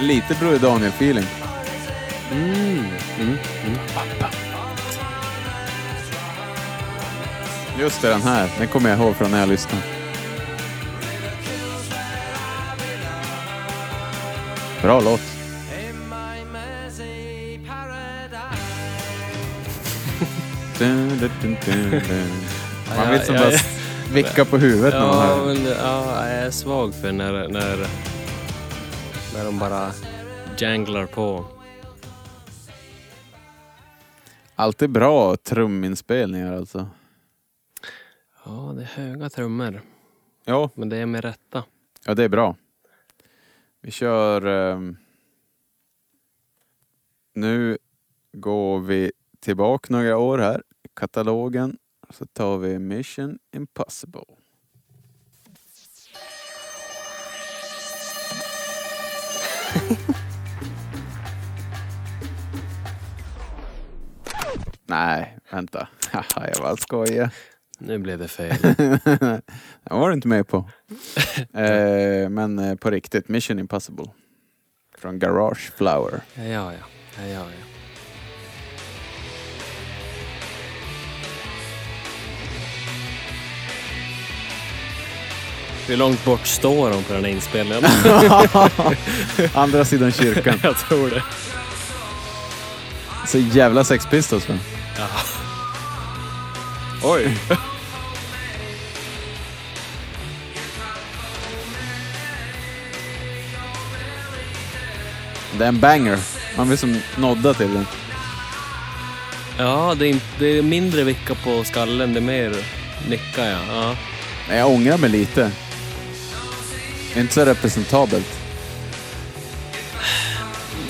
Speaker 2: Lite Broder Daniel-feeling. Mm, Just det, den här. Den kommer jag ihåg från när jag lyssnade. Bra
Speaker 6: In
Speaker 2: låt.
Speaker 6: my mazy paradise.
Speaker 2: Dun, dun, dun, dun, dun. Man vill som
Speaker 1: Ja,
Speaker 2: bara
Speaker 1: ja,
Speaker 2: s- vicka på huvudet när man
Speaker 1: Ja,
Speaker 2: hör den.
Speaker 1: men, ja, jag är svag för när, när, när de bara janglar på.
Speaker 2: Alltid bra truminspelningar alltså.
Speaker 1: Ja, det är höga trummor,
Speaker 2: Ja,
Speaker 1: men det är med rätta.
Speaker 2: ja det är bra. Vi kör... ehm, nu går vi tillbaka några år här. i Katalogen. Så tar vi Mission Impossible. Nej, vänta. Haha, jag bara skojar.
Speaker 1: Nu blev det fel.
Speaker 2: Den var du inte med på. eh, men eh, på riktigt, Mission Impossible. Från Garage Flower.
Speaker 1: Ja, ja, ja. ja, ja, ja. Hur långt bort står de på den här inspelningen?
Speaker 2: Andra sidan kyrkan.
Speaker 1: jag tror det.
Speaker 2: Så jävla Sex Pistols men.
Speaker 1: Oj!
Speaker 2: Det är en banger. Man vill som nodda till den.
Speaker 1: Ja, det är, inte, det är mindre vicka på skallen, det är mer nicka ja. ja.
Speaker 2: Men jag ångrar mig lite. Det är inte så representabelt.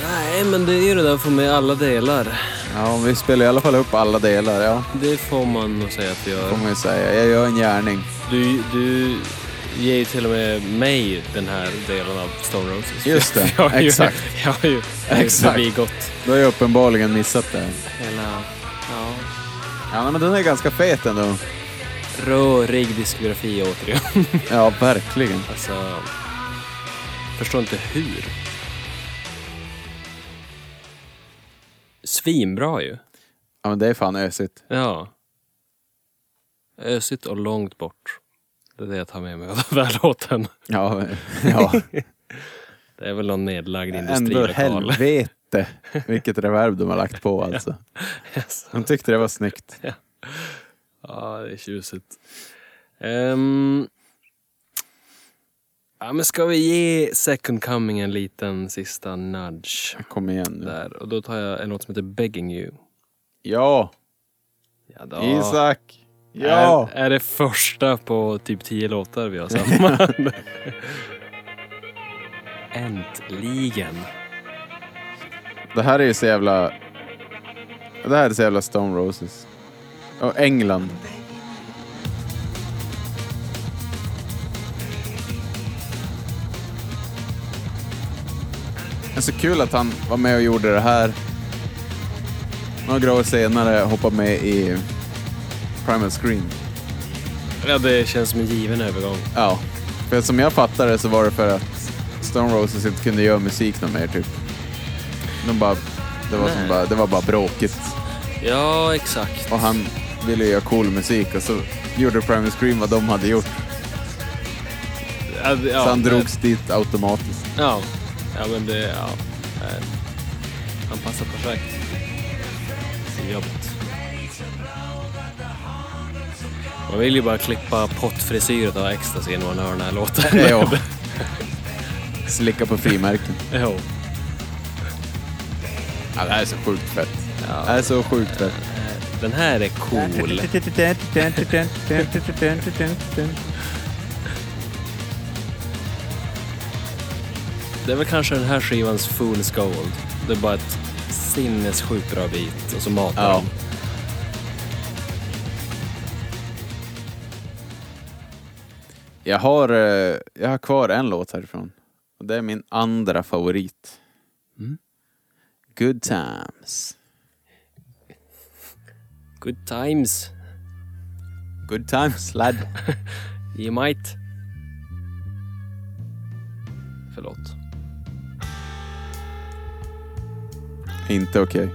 Speaker 1: Nej, men det är ju det där för mig alla delar.
Speaker 2: Ja, vi spelar i alla fall upp alla delar. Ja,
Speaker 1: Det får man nog säga att vi
Speaker 2: får
Speaker 1: gör.
Speaker 2: man ju säga. Jag gör en gärning.
Speaker 1: Du, du ger ju till och med mig den här delen av Stone Roses.
Speaker 2: Just det,
Speaker 1: Jag har ju-
Speaker 2: exakt.
Speaker 1: Jag har ju
Speaker 2: Exakt.
Speaker 1: förbigått
Speaker 2: Då har jag uppenbarligen missat det.
Speaker 1: hela ja,
Speaker 2: Ja, men den är ganska fet ändå.
Speaker 1: rörig diskografi återigen.
Speaker 2: Ja, verkligen.
Speaker 1: Alltså, förstår inte hur. Svinbra ju.
Speaker 2: Ja, men det är fan ösigt.
Speaker 1: Ja. Ösigt och långt bort. Det är det jag tar med mig av den här låten.
Speaker 2: Ja, men- ja.
Speaker 1: Det är väl någon nedlagd
Speaker 2: Ändå
Speaker 1: industrilokal.
Speaker 2: helvete vilket reverb de har lagt på alltså. De tyckte det var snyggt.
Speaker 1: Ja, det är tjusigt. Ehm, ja, men ska vi ge Second Coming en liten sista nudge?
Speaker 2: Kom igen nu.
Speaker 1: Där. Och då tar jag en låt som heter Begging You.
Speaker 2: Ja,
Speaker 1: Ja, då.
Speaker 2: Isak! Ja!
Speaker 1: Är, är det första på typ tio låtar vi har samman. Äntligen.
Speaker 2: Det här är ju så jävla... Det här är så jävla Stone Roses. Och England. Det är så kul att han var med och gjorde det här. Några år senare hoppade med i Primal Scream.
Speaker 1: Ja, det känns som en given övergång.
Speaker 2: Ja, för som jag fattar det så var det för att Stone Roses inte kunde göra musik någon mer typ. De bara, det, var som
Speaker 1: Nej.
Speaker 2: bara, det var bara bråkigt.
Speaker 1: Ja, exakt.
Speaker 2: Och han ville göra cool musik och så gjorde Primal Scream vad de hade gjort.
Speaker 1: Ja, det- ja,
Speaker 2: så han
Speaker 1: det-
Speaker 2: drogs dit automatiskt.
Speaker 1: Ja. ja, men det... Ja. Eh, Han passar perfekt. Till jobbet. Man vill ju bara klippa pottfrisyret av ecstasy när man hör den här låten.
Speaker 2: Ja. Slicka på frimärken.
Speaker 1: Jo.
Speaker 2: Ja, det här är så sjukt fett. Det här är så sjukt fett.
Speaker 1: Den här är cool. Det är väl kanske den här skivans Fool's Gold. Det är bara ett sinnessjukt bra beat och så matar
Speaker 2: Ja.
Speaker 1: den.
Speaker 2: Jag har, eh, jag har kvar en låt härifrån. Och det är min andra favorit.
Speaker 1: Mm.
Speaker 2: Good times.
Speaker 1: Good times,
Speaker 2: Good times, lad.
Speaker 1: you might. Förlåt.
Speaker 2: Inte okej.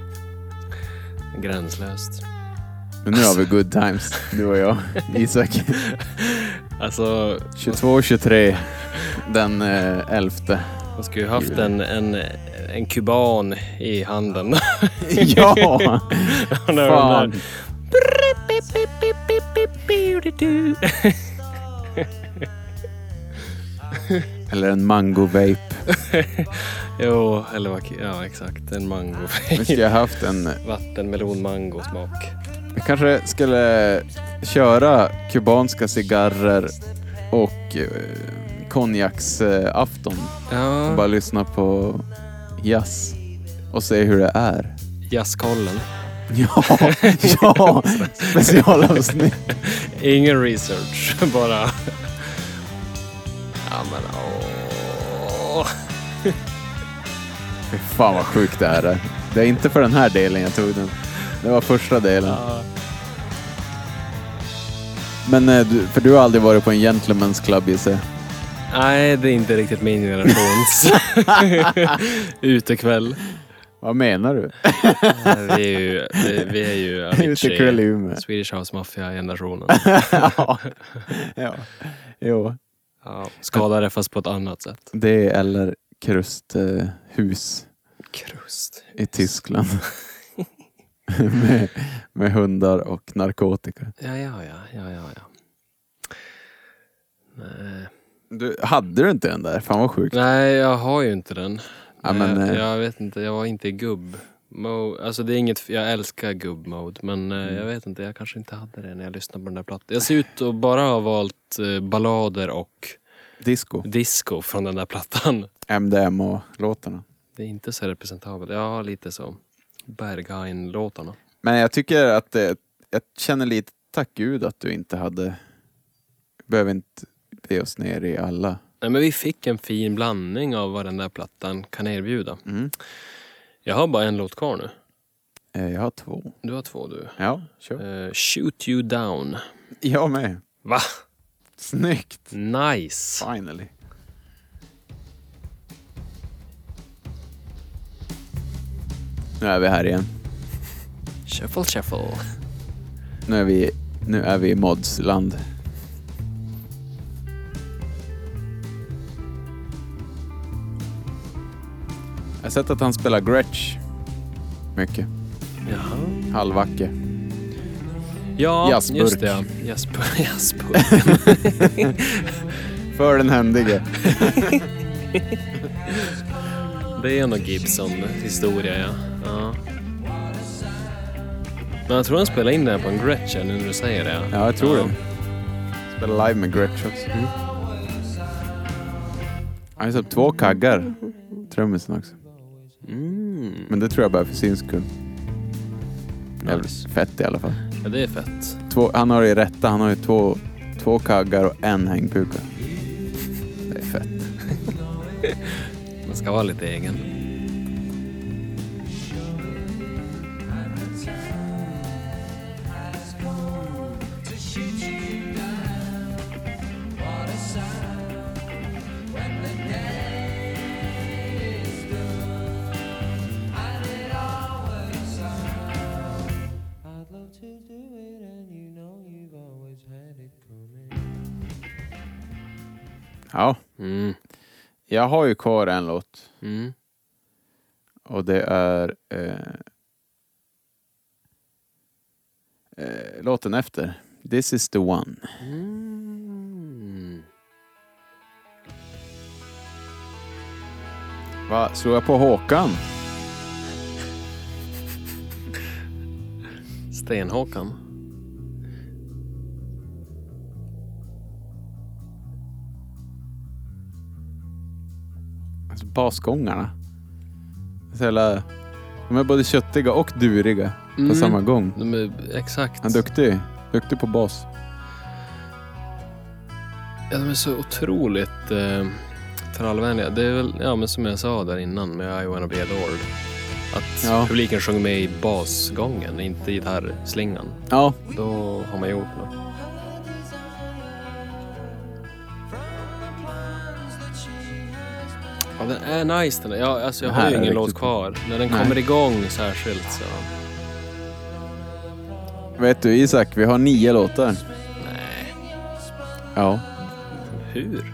Speaker 1: Gränslöst.
Speaker 2: Men nu har vi good times, du och jag. Isak.
Speaker 1: Alltså,
Speaker 2: 22-23 den eh, 11.
Speaker 1: man skulle ju haft en, en, en kuban i handen.
Speaker 2: ja!
Speaker 1: När
Speaker 2: Fan.
Speaker 1: de där-
Speaker 2: Eller en mango vape.
Speaker 1: Jo, eller vad... Ja, exakt. En mango.
Speaker 2: Vi skulle ha haft en...
Speaker 1: Vattenmelon, mango, smak.
Speaker 2: Vi kanske skulle köra kubanska cigarrer och eh, konjaksafton.
Speaker 1: Ja.
Speaker 2: Bara lyssna på jazz och se hur det är.
Speaker 1: Jazzkollen.
Speaker 2: Ja, ja, specialavsnitt.
Speaker 1: Ingen research, bara... Ja, men åh.
Speaker 2: Fy Fan vad sjukt det här är. Det är inte för den här delen jag tog den. Det var första delen. Men eh, du, för du har aldrig varit på en gentleman's club gissar jag.
Speaker 1: Nej, det är inte riktigt min generations utekväll.
Speaker 2: Vad menar du?
Speaker 1: Nej, Vi är ju, vi- vi är ju
Speaker 2: Utekväll i
Speaker 1: Avicii,
Speaker 2: Umeå.
Speaker 1: Swedish House Mafia-generationen.
Speaker 2: ja. ja. Jo.
Speaker 1: Ja, skadade fast på ett annat sätt.
Speaker 2: Det eller krusthus
Speaker 1: Krust.
Speaker 2: i Tyskland. med, med hundar och narkotika.
Speaker 1: Ja, ja, ja, ja, ja. ja. Nej.
Speaker 2: Du, hade du inte den där? Fan vad sjukt.
Speaker 1: Nej, jag har ju inte den.
Speaker 2: Ja, men,
Speaker 1: jag,
Speaker 2: eh,
Speaker 1: jag vet inte, jag var inte i gubb. Mode. Alltså det är inget, jag älskar gubb-mode men
Speaker 2: Mm.
Speaker 1: eh, jag vet inte, jag kanske inte hade det när jag lyssnade på den där plattan. Jag ser ut att bara ha valt eh, ballader och
Speaker 2: Disco.
Speaker 1: disco från den där plattan.
Speaker 2: MDMA-låtarna.
Speaker 1: Det är inte så representabelt. Ja, lite så. Berghain-låtarna.
Speaker 2: Men jag tycker att det, jag känner lite tack gud att du inte hade behöver inte be oss ner i alla.
Speaker 1: Nej, men vi fick en fin blandning av vad den där plattan kan erbjuda.
Speaker 2: Mm.
Speaker 1: Jag har bara en låt kvar nu.
Speaker 2: Eh, Jag har två.
Speaker 1: Du har två du.
Speaker 2: Ja, kör.
Speaker 1: Eh, Shoot you down.
Speaker 2: Jag med.
Speaker 1: Va?
Speaker 2: Snyggt!
Speaker 1: Nice!
Speaker 2: Finally. Nu är vi här igen.
Speaker 1: Shuffle shuffle.
Speaker 2: Nu är vi, nu är vi i modsland. Jag har sett att han spelar Gretsch mycket.
Speaker 1: Jaha.
Speaker 2: Halvacke.
Speaker 1: Ja,
Speaker 2: Jazzburk.
Speaker 1: just det. ja. Jazzburk. Jazzburk.
Speaker 2: För den händige.
Speaker 1: det är nog Gibson-historia, ja. ja. Men jag tror han spelade in den här på en Gretchen nu när du säger det.
Speaker 2: Ja, jag tror det. Mm. Spelar live med Gretsch också. Han har släppt två kaggar, trummisen också.
Speaker 1: Mm.
Speaker 2: Men det tror jag bara för syns skull. Jävligt
Speaker 1: Nice.
Speaker 2: fett i alla fall.
Speaker 1: Ja, det är fett.
Speaker 2: Två, han har det rätta, han har ju två, två kaggar och en hängpuka. Det är fett.
Speaker 1: Man ska vara lite egen.
Speaker 7: I'd love to do it, and you know you've always had it coming.
Speaker 2: Ja,
Speaker 1: Mm.
Speaker 2: jag har ju kvar en låt
Speaker 1: Mm.
Speaker 2: och det är eh, eh, låten efter. This is the one.
Speaker 1: Mm.
Speaker 2: Va, slår jag på Håkan?
Speaker 1: Stenhåkan.
Speaker 2: Alltså basgångarna. Så jävla, de är både köttiga och duriga
Speaker 1: Mm.
Speaker 2: på samma gång.
Speaker 1: De är, exakt.
Speaker 2: Han är duktig. Duktig på bas.
Speaker 1: Ja, de är så otroligt eh, trallvänliga. Det är väl, ja men som jag sa där innan med I wanna be adored. Att
Speaker 2: Ja.
Speaker 1: publiken sjunger med i basgången, inte gitarrslingan.
Speaker 2: Ja,
Speaker 1: Då har man gjort något. Ja, den är nice den där. Jag, alltså, jag
Speaker 2: Den här
Speaker 1: har ju
Speaker 2: är
Speaker 1: ingen låt
Speaker 2: riktigt
Speaker 1: kvar. När den
Speaker 2: Nej.
Speaker 1: kommer igång särskilt så...
Speaker 2: Vet du Isak, vi har nio låtar.
Speaker 1: Nej,
Speaker 2: Ja.
Speaker 1: hur?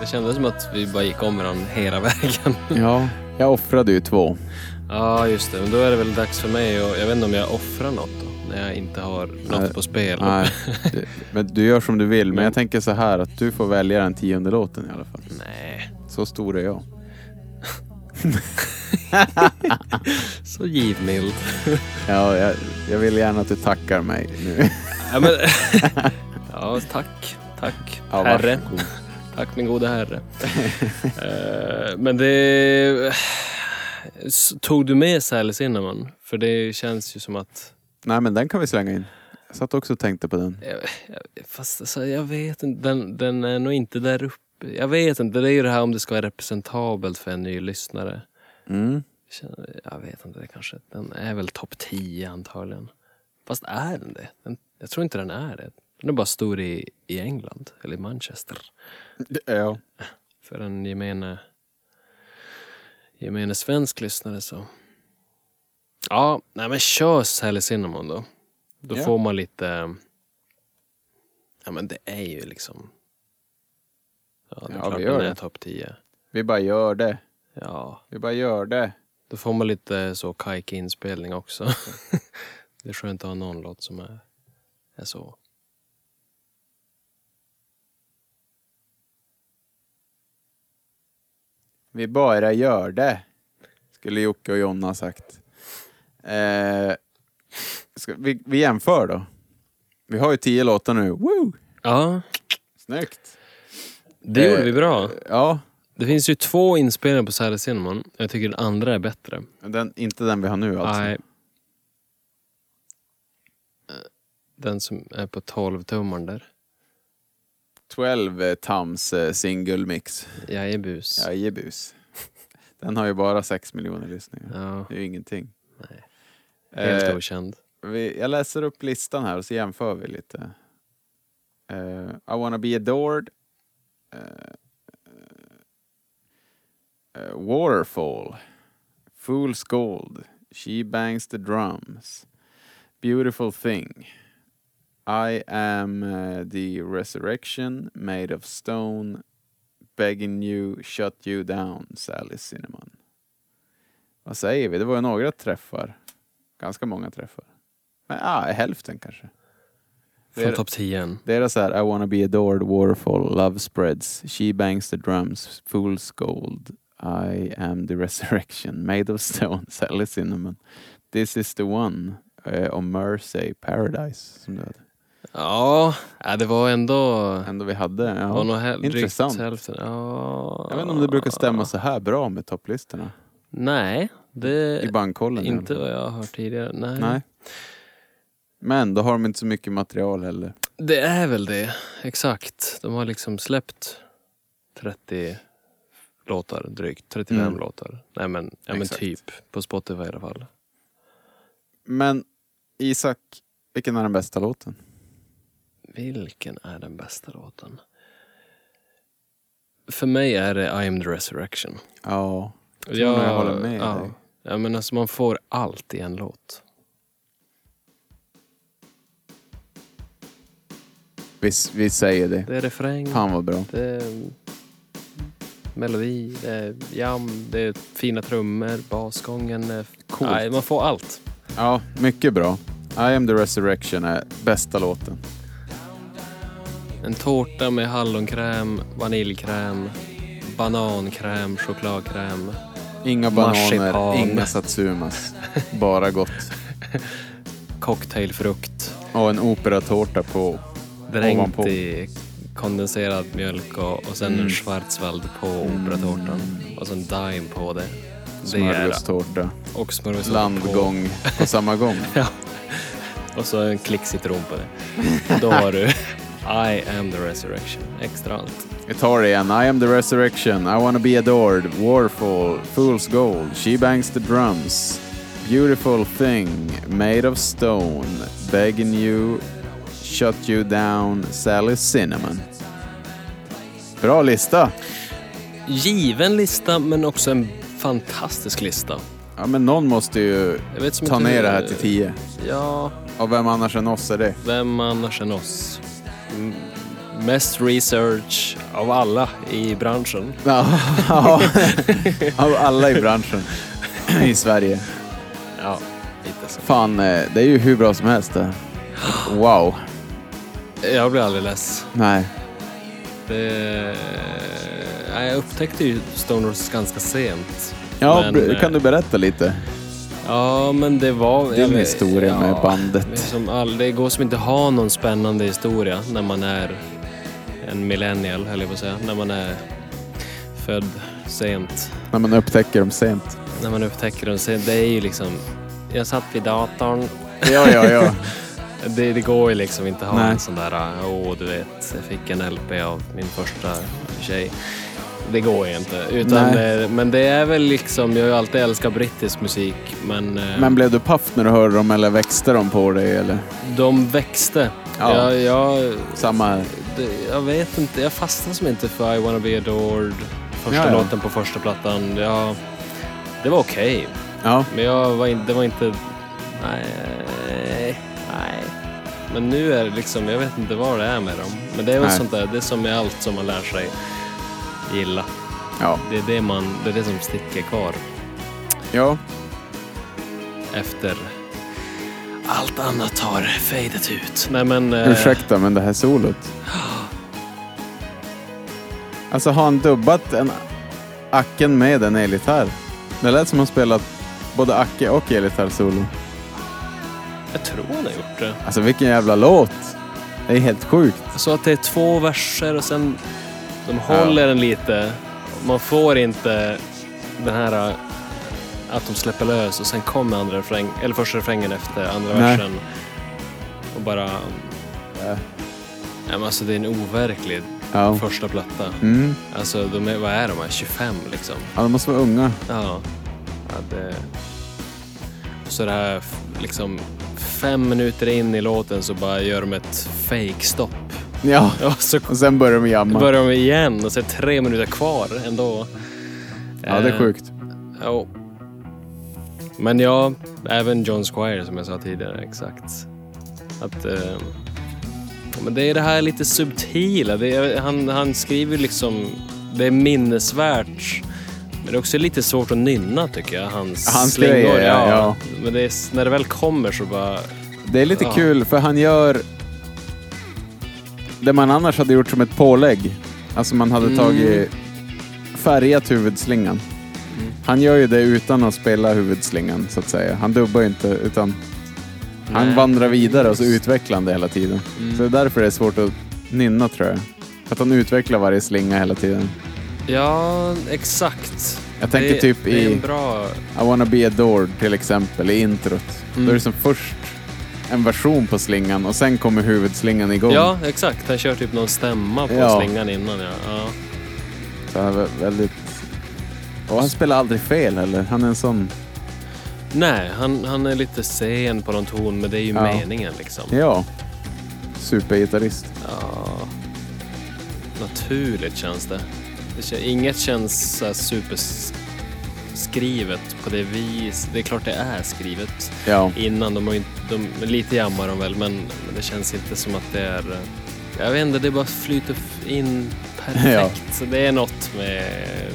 Speaker 1: Det kändes som att vi bara gick om varandra hela vägen.
Speaker 2: Ja, jag offrade ju två.
Speaker 1: Ja, just det. Men då är det väl dags för mig och Jag vet inte om jag offrar något då. När jag inte har något
Speaker 2: Nej.
Speaker 1: på spel.
Speaker 2: Nej, du, men du gör som du vill. Men
Speaker 1: Men-
Speaker 2: jag tänker så här att du får välja den tionde låten i alla fall.
Speaker 1: Nej,
Speaker 2: Så stor är jag.
Speaker 1: så givmild.
Speaker 2: Ja, jag, jag vill gärna att du tackar mig nu.
Speaker 1: ja, men... ja, tack. Tack,
Speaker 2: Ja,
Speaker 1: herre.
Speaker 2: varsågod.
Speaker 1: Tack min gode herre. Eh, men det... S- Tog du med Sally Cinnamon? För det känns ju som att...
Speaker 2: Nej, men den kan vi slänga in. Jag satt också och tänkte på den.
Speaker 1: Jag- jag- Eh, Fast alltså, jag vet inte, den, den är nog inte där uppe. Jag vet inte, det är ju det här om det ska vara representabelt för en ny lyssnare.
Speaker 2: Mm.
Speaker 1: Känner- Jag vet inte, det kanske, den är väl topp 10 antagligen. Fast är den det? Den, jag tror inte den är det. Den är bara stor i, i England, eller i Manchester.
Speaker 2: Ja.
Speaker 1: För en gemene, gemene svensk lyssnare så. Ja, nej men kör Sally Cinnamon då. Då
Speaker 2: Ja.
Speaker 1: får man lite... Ja men det är ju liksom... Ja, det är
Speaker 2: Ja,
Speaker 1: klart
Speaker 2: vi gör
Speaker 1: den är
Speaker 2: det.
Speaker 1: topp 10.
Speaker 2: Vi bara gör det.
Speaker 1: Ja,
Speaker 2: Vi bara gör det.
Speaker 1: då får man lite så kajkig inspelning också. det är skönt att ha någon låt som är, är så.
Speaker 2: Vi bara gör det. Skulle Jocke och Jonna ha sagt. Eh, ska vi, vi jämför då. Vi har ju tio låtar nu. Woo!
Speaker 1: Ja,
Speaker 2: Snyggt!
Speaker 1: det
Speaker 2: Eh,
Speaker 1: gjorde vi bra.
Speaker 2: Ja,
Speaker 1: Det finns ju två inspelningar på Sally Cinnamon. Jag tycker den andra är bättre.
Speaker 2: den, inte den vi har nu alltså.
Speaker 1: Nej. Eh, Den som är på 12 tummaren där.
Speaker 2: 12 eh, tams eh, single mix.
Speaker 1: Jag är bus. Ja.
Speaker 2: Jajebus. Den har ju bara sex miljoner lyssningar. Det är ju ingenting.
Speaker 1: helt
Speaker 2: Eh,
Speaker 1: okänd.
Speaker 2: vi, jag läser upp listan här och så jämför vi lite. Eh, I wanna be adored. Eh, eh, waterfall. Fool's gold. She bangs the drums. Beautiful thing. I am eh, the resurrection made of stone. Begging you, shut you down, Sally Cinnamon. Vad säger vi? Det var ju några träffar. Ganska många träffar. Men ah, hälften kanske.
Speaker 1: Från topp 10.
Speaker 2: Deras är I wanna be adored, waterfall, love spreads, she bangs the drums, fool's gold, I am the resurrection, made of stone, Sally Cinnamon, this is the one, eh, och Mercy Paradise som du hade.
Speaker 1: Ja, ja, det var ändå...
Speaker 2: Ändå vi hade.
Speaker 1: var nog
Speaker 2: Ja.
Speaker 1: hä- drygt
Speaker 2: Intressant.
Speaker 1: Hälften. Ja.
Speaker 2: Jag vet inte om det brukar stämma så här bra med topplistorna.
Speaker 1: Nej, det...
Speaker 2: I bankkollen i alla
Speaker 1: Eh, Inte
Speaker 2: fall.
Speaker 1: vad jag har hört tidigare. Nej.
Speaker 2: Nej. Men då har de inte så mycket material heller.
Speaker 1: Det är väl det. Exakt. De har liksom släppt 30 låtar drygt. 35
Speaker 2: Mm.
Speaker 1: låtar. Nej men, ja, men
Speaker 2: Exakt.
Speaker 1: typ. På Spotify i alla fall.
Speaker 2: Men Isak, vilken är den bästa låten?
Speaker 1: Vilken är den bästa låten? För mig är det I am the resurrection.
Speaker 2: Ja, tror nog jag håller med
Speaker 1: ja,
Speaker 2: dig.
Speaker 1: Ja, men alltså man får allt i en låt.
Speaker 2: vi, vi säger det.
Speaker 1: Det är refräng,
Speaker 2: Fan vad bra.
Speaker 1: det är melodi, det är jam, det är fina trummor, basgången. är-
Speaker 2: Coolt.
Speaker 1: Nej, man får allt.
Speaker 2: Ja, mycket bra. I am the resurrection är bästa låten.
Speaker 1: En tårta med hallonkräm, vaniljkräm, banankräm, chokladkräm.
Speaker 2: Inga
Speaker 1: Marsipan.
Speaker 2: bananer, inga satsumas. Bara gott.
Speaker 1: cocktailfrukt,
Speaker 2: Och en operatårta på.
Speaker 1: dränkt
Speaker 2: Ovanpå. Mm.
Speaker 1: i kondenserad mjölk och, och sen en schwarzwald på operatårtan och sen daim på det. Det är
Speaker 2: Smörgåstårta.
Speaker 1: och smörgås på
Speaker 2: Landgång på samma gång.
Speaker 1: och så en klick citron på det. Då har du I am the resurrection. Extra allt.
Speaker 2: Vi tar det igen. I am the resurrection. I wanna be adored. Warfall. Fool's gold. She bangs the drums. Beautiful thing. Made of stone. Begging you. Shut you down. Sally Cinnamon. Bra lista.
Speaker 1: given lista men också en fantastisk lista.
Speaker 2: Ja, men någon måste ju
Speaker 1: Jag vet som
Speaker 2: ta
Speaker 1: inte
Speaker 2: ner
Speaker 1: hur-
Speaker 2: det här till 10.
Speaker 1: Ja,
Speaker 2: Och vem annars än oss är det?
Speaker 1: vem annars än oss? M- mest research av alla i branschen.
Speaker 2: Ja, ja. Av alla i branschen i Sverige.
Speaker 1: Ja, lite så.
Speaker 2: Fan, eh, det är ju hur bra som helst det. Wow.
Speaker 1: Jag blir aldrig less.
Speaker 2: Nej.
Speaker 1: Det... Nej, Eh, jag upptäckte ju Stone Roses ganska sent.
Speaker 2: Ja,
Speaker 1: Men,
Speaker 2: br- kan
Speaker 1: eh,
Speaker 2: du berätta lite?
Speaker 1: Ja, men det var...
Speaker 2: Din
Speaker 1: jag vet-
Speaker 2: historia med bandet.
Speaker 1: det är Som all, det går som inte att ha någon spännande historia när man är en millennial, höll jag på att säga. När man är född sent.
Speaker 2: När man upptäcker dem sent.
Speaker 1: När man upptäcker dem sent. Det är ju liksom... Jag satt vid datorn.
Speaker 2: Ja, ja, ja.
Speaker 1: Det, det går ju liksom inte att ha
Speaker 2: Nej.
Speaker 1: en sån där... Åh, du vet, jag fick en LP av min första tjej. Det går ju inte. Utan,
Speaker 2: Nej.
Speaker 1: eh, men det är väl liksom... Jag har ju alltid älskat brittisk musik, men... eh,
Speaker 2: Men blev du paff när du hörde dem eller växte de på dig? Eller?
Speaker 1: De växte.
Speaker 2: Ja.
Speaker 1: Jag, jag,
Speaker 2: Samma här.
Speaker 1: det- jag vet inte, jag fastnade som inte för I wanna be adored. Första
Speaker 2: Ja, ja.
Speaker 1: låten på första plattan. Jag, det var okej,
Speaker 2: Ja.
Speaker 1: men jag var in, det var inte... Nej, nej. Men nu är det liksom, jag vet inte vad det är med dem. Men det är väl
Speaker 2: Nej.
Speaker 1: sånt där, det är som med allt som man lär sig gilla.
Speaker 2: Ja.
Speaker 1: Det är det, man, det, är det som sticker kvar
Speaker 2: ja.
Speaker 1: efter allt annat har fejdat ut. Nej men... eh,
Speaker 2: Ursäkta, men det här solot. Alltså har han dubbat en Acken med en elgitarr? Det lät som han spelat både Acke och elgitarrsolo.
Speaker 1: Jag tror han har gjort det.
Speaker 2: Alltså vilken jävla låt! Det är helt sjukt.
Speaker 1: Så att det är två verser och sen de håller den lite. Man får inte den här eh, att de släpper lös och sen kommer andra refräng, eller första refrängen efter andra
Speaker 2: Nej.
Speaker 1: versen. Och bara... Nej, men alltså det är en overklig
Speaker 2: Ja.
Speaker 1: första platta.
Speaker 2: Mm.
Speaker 1: Alltså de är, vad är de här, 25 liksom?
Speaker 2: Ja, de måste vara unga.
Speaker 1: Ja. ja det... Och så det här f- liksom fem minuter in i låten så bara gör de ett fake stopp
Speaker 2: Ja.
Speaker 1: Och så
Speaker 2: Och sen börjar de jamma.
Speaker 1: börjar de igen och så är det tre minuter kvar ändå.
Speaker 2: Ja, det är sjukt.
Speaker 1: Eh, ja. Men ja, även John Squire som jag sa tidigare, exakt. Att... Eh, men det är det här lite subtila. Det är, han, han skriver liksom... Det är minnesvärt. Men det är också lite svårt att nynna tycker jag. Hans,
Speaker 2: Hans
Speaker 1: slingor.
Speaker 2: grejer, ja, ja.
Speaker 1: Men det är, s- när det väl kommer så bara...
Speaker 2: Det är lite
Speaker 1: Ja.
Speaker 2: kul för han gör det man annars hade gjort som ett pålägg. Alltså man
Speaker 1: Mm.
Speaker 2: hade tagit färgat huvudslingan.
Speaker 1: Mm.
Speaker 2: Han gör ju det utan att spela huvudslingan så att säga. Han dubbar ju inte utan han
Speaker 1: Nej. Mm.
Speaker 2: vandrar vidare och så utvecklar han det hela tiden. Så det är därför det är svårt att nynna tror jag. För att han utvecklar varje slinga hela tiden.
Speaker 1: Ja, exakt.
Speaker 2: Jag tänker
Speaker 1: det,
Speaker 2: typ
Speaker 1: det är
Speaker 2: i-
Speaker 1: en bra... Mm.
Speaker 2: I wanna be adored till exempel i introt. Då är det som först en version på slingan och sen kommer huvudslingan igång.
Speaker 1: Ja, exakt. Han kör typ någon stämma på
Speaker 2: Ja.
Speaker 1: slingan innan. Ja. Ja.
Speaker 2: Så han är väldigt... Och han spelar aldrig fel heller. Han är en sån...
Speaker 1: Nej, han, han är lite sen på någon ton, men det är ju
Speaker 2: Ja.
Speaker 1: meningen liksom.
Speaker 2: Ja. Supergitarrist.
Speaker 1: Ja. Naturligt känns det. det kän, inget känns så här superskrivet på det vis. Det är klart det är skrivet
Speaker 2: Ja.
Speaker 1: innan. De har ju inte, de, men lite jammar de väl, men, men det känns inte som att det är... eh, Jag vet inte, det bara flyter f- in perfekt. Så det är något med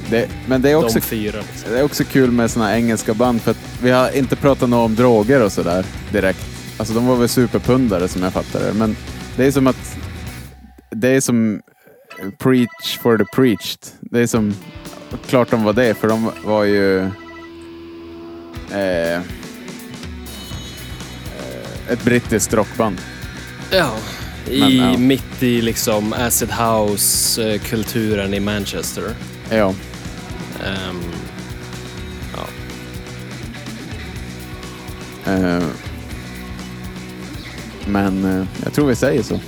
Speaker 2: Det, men det är, också,
Speaker 1: de fyra. Liksom.
Speaker 2: det är också kul med såna här engelska band för att vi har inte pratat något om droger och sådär direkt. Alltså de var väl superpundare som jag fattar det. Men det är som att... Det är som preach for the preached. Det är som... Klart de var det, för de var ju... Eh, eh, ett brittiskt rockband.
Speaker 1: Ja, i,
Speaker 2: Men, ja.
Speaker 1: mitt i liksom acid house-kulturen i Manchester.
Speaker 2: Ja.
Speaker 1: Ehm, ja.
Speaker 2: Eh, men eh, jag tror vi säger så.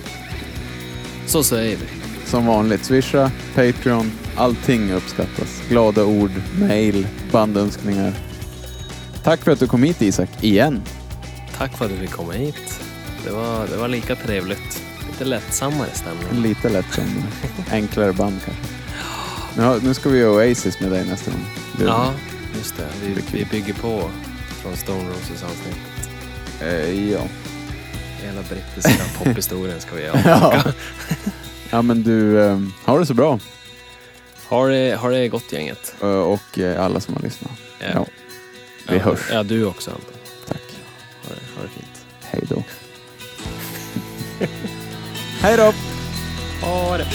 Speaker 1: Så säger vi.
Speaker 2: Som vanligt, swisha, Patreon, allting uppskattas. Glada ord, mail, bandönskningar. Tack för att du kom hit Isak, igen.
Speaker 1: Tack för att du fick komma hit. Det var, det var lika trevligt. Lite lättsammare stämning.
Speaker 2: Lite lätt som enklare band kanske. Nu, har- nu ska vi göra Oasis med dig nästa gång. Du,
Speaker 1: Ja, just det. Vi, vi bygger på från Stone Roses avsnitt.
Speaker 2: Eh, ja.
Speaker 1: Hela brittiska pophistorien ska vi göra.
Speaker 2: ja. ja, men du, eh, ha det så bra.
Speaker 1: Har det, har det gott gänget.
Speaker 2: Eh, och eh, alla som har lyssnat.
Speaker 1: Ja.
Speaker 2: Ja. Vi
Speaker 1: ja,
Speaker 2: hörs.
Speaker 1: Ja, du också Anton.
Speaker 2: Tack.
Speaker 1: Ha det, ha det fint.
Speaker 2: Hej då. Hej då!
Speaker 1: Ha det.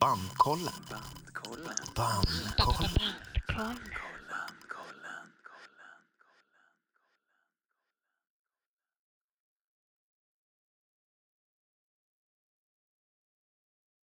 Speaker 3: Bandkollen. Bandkollen. Bandkollen.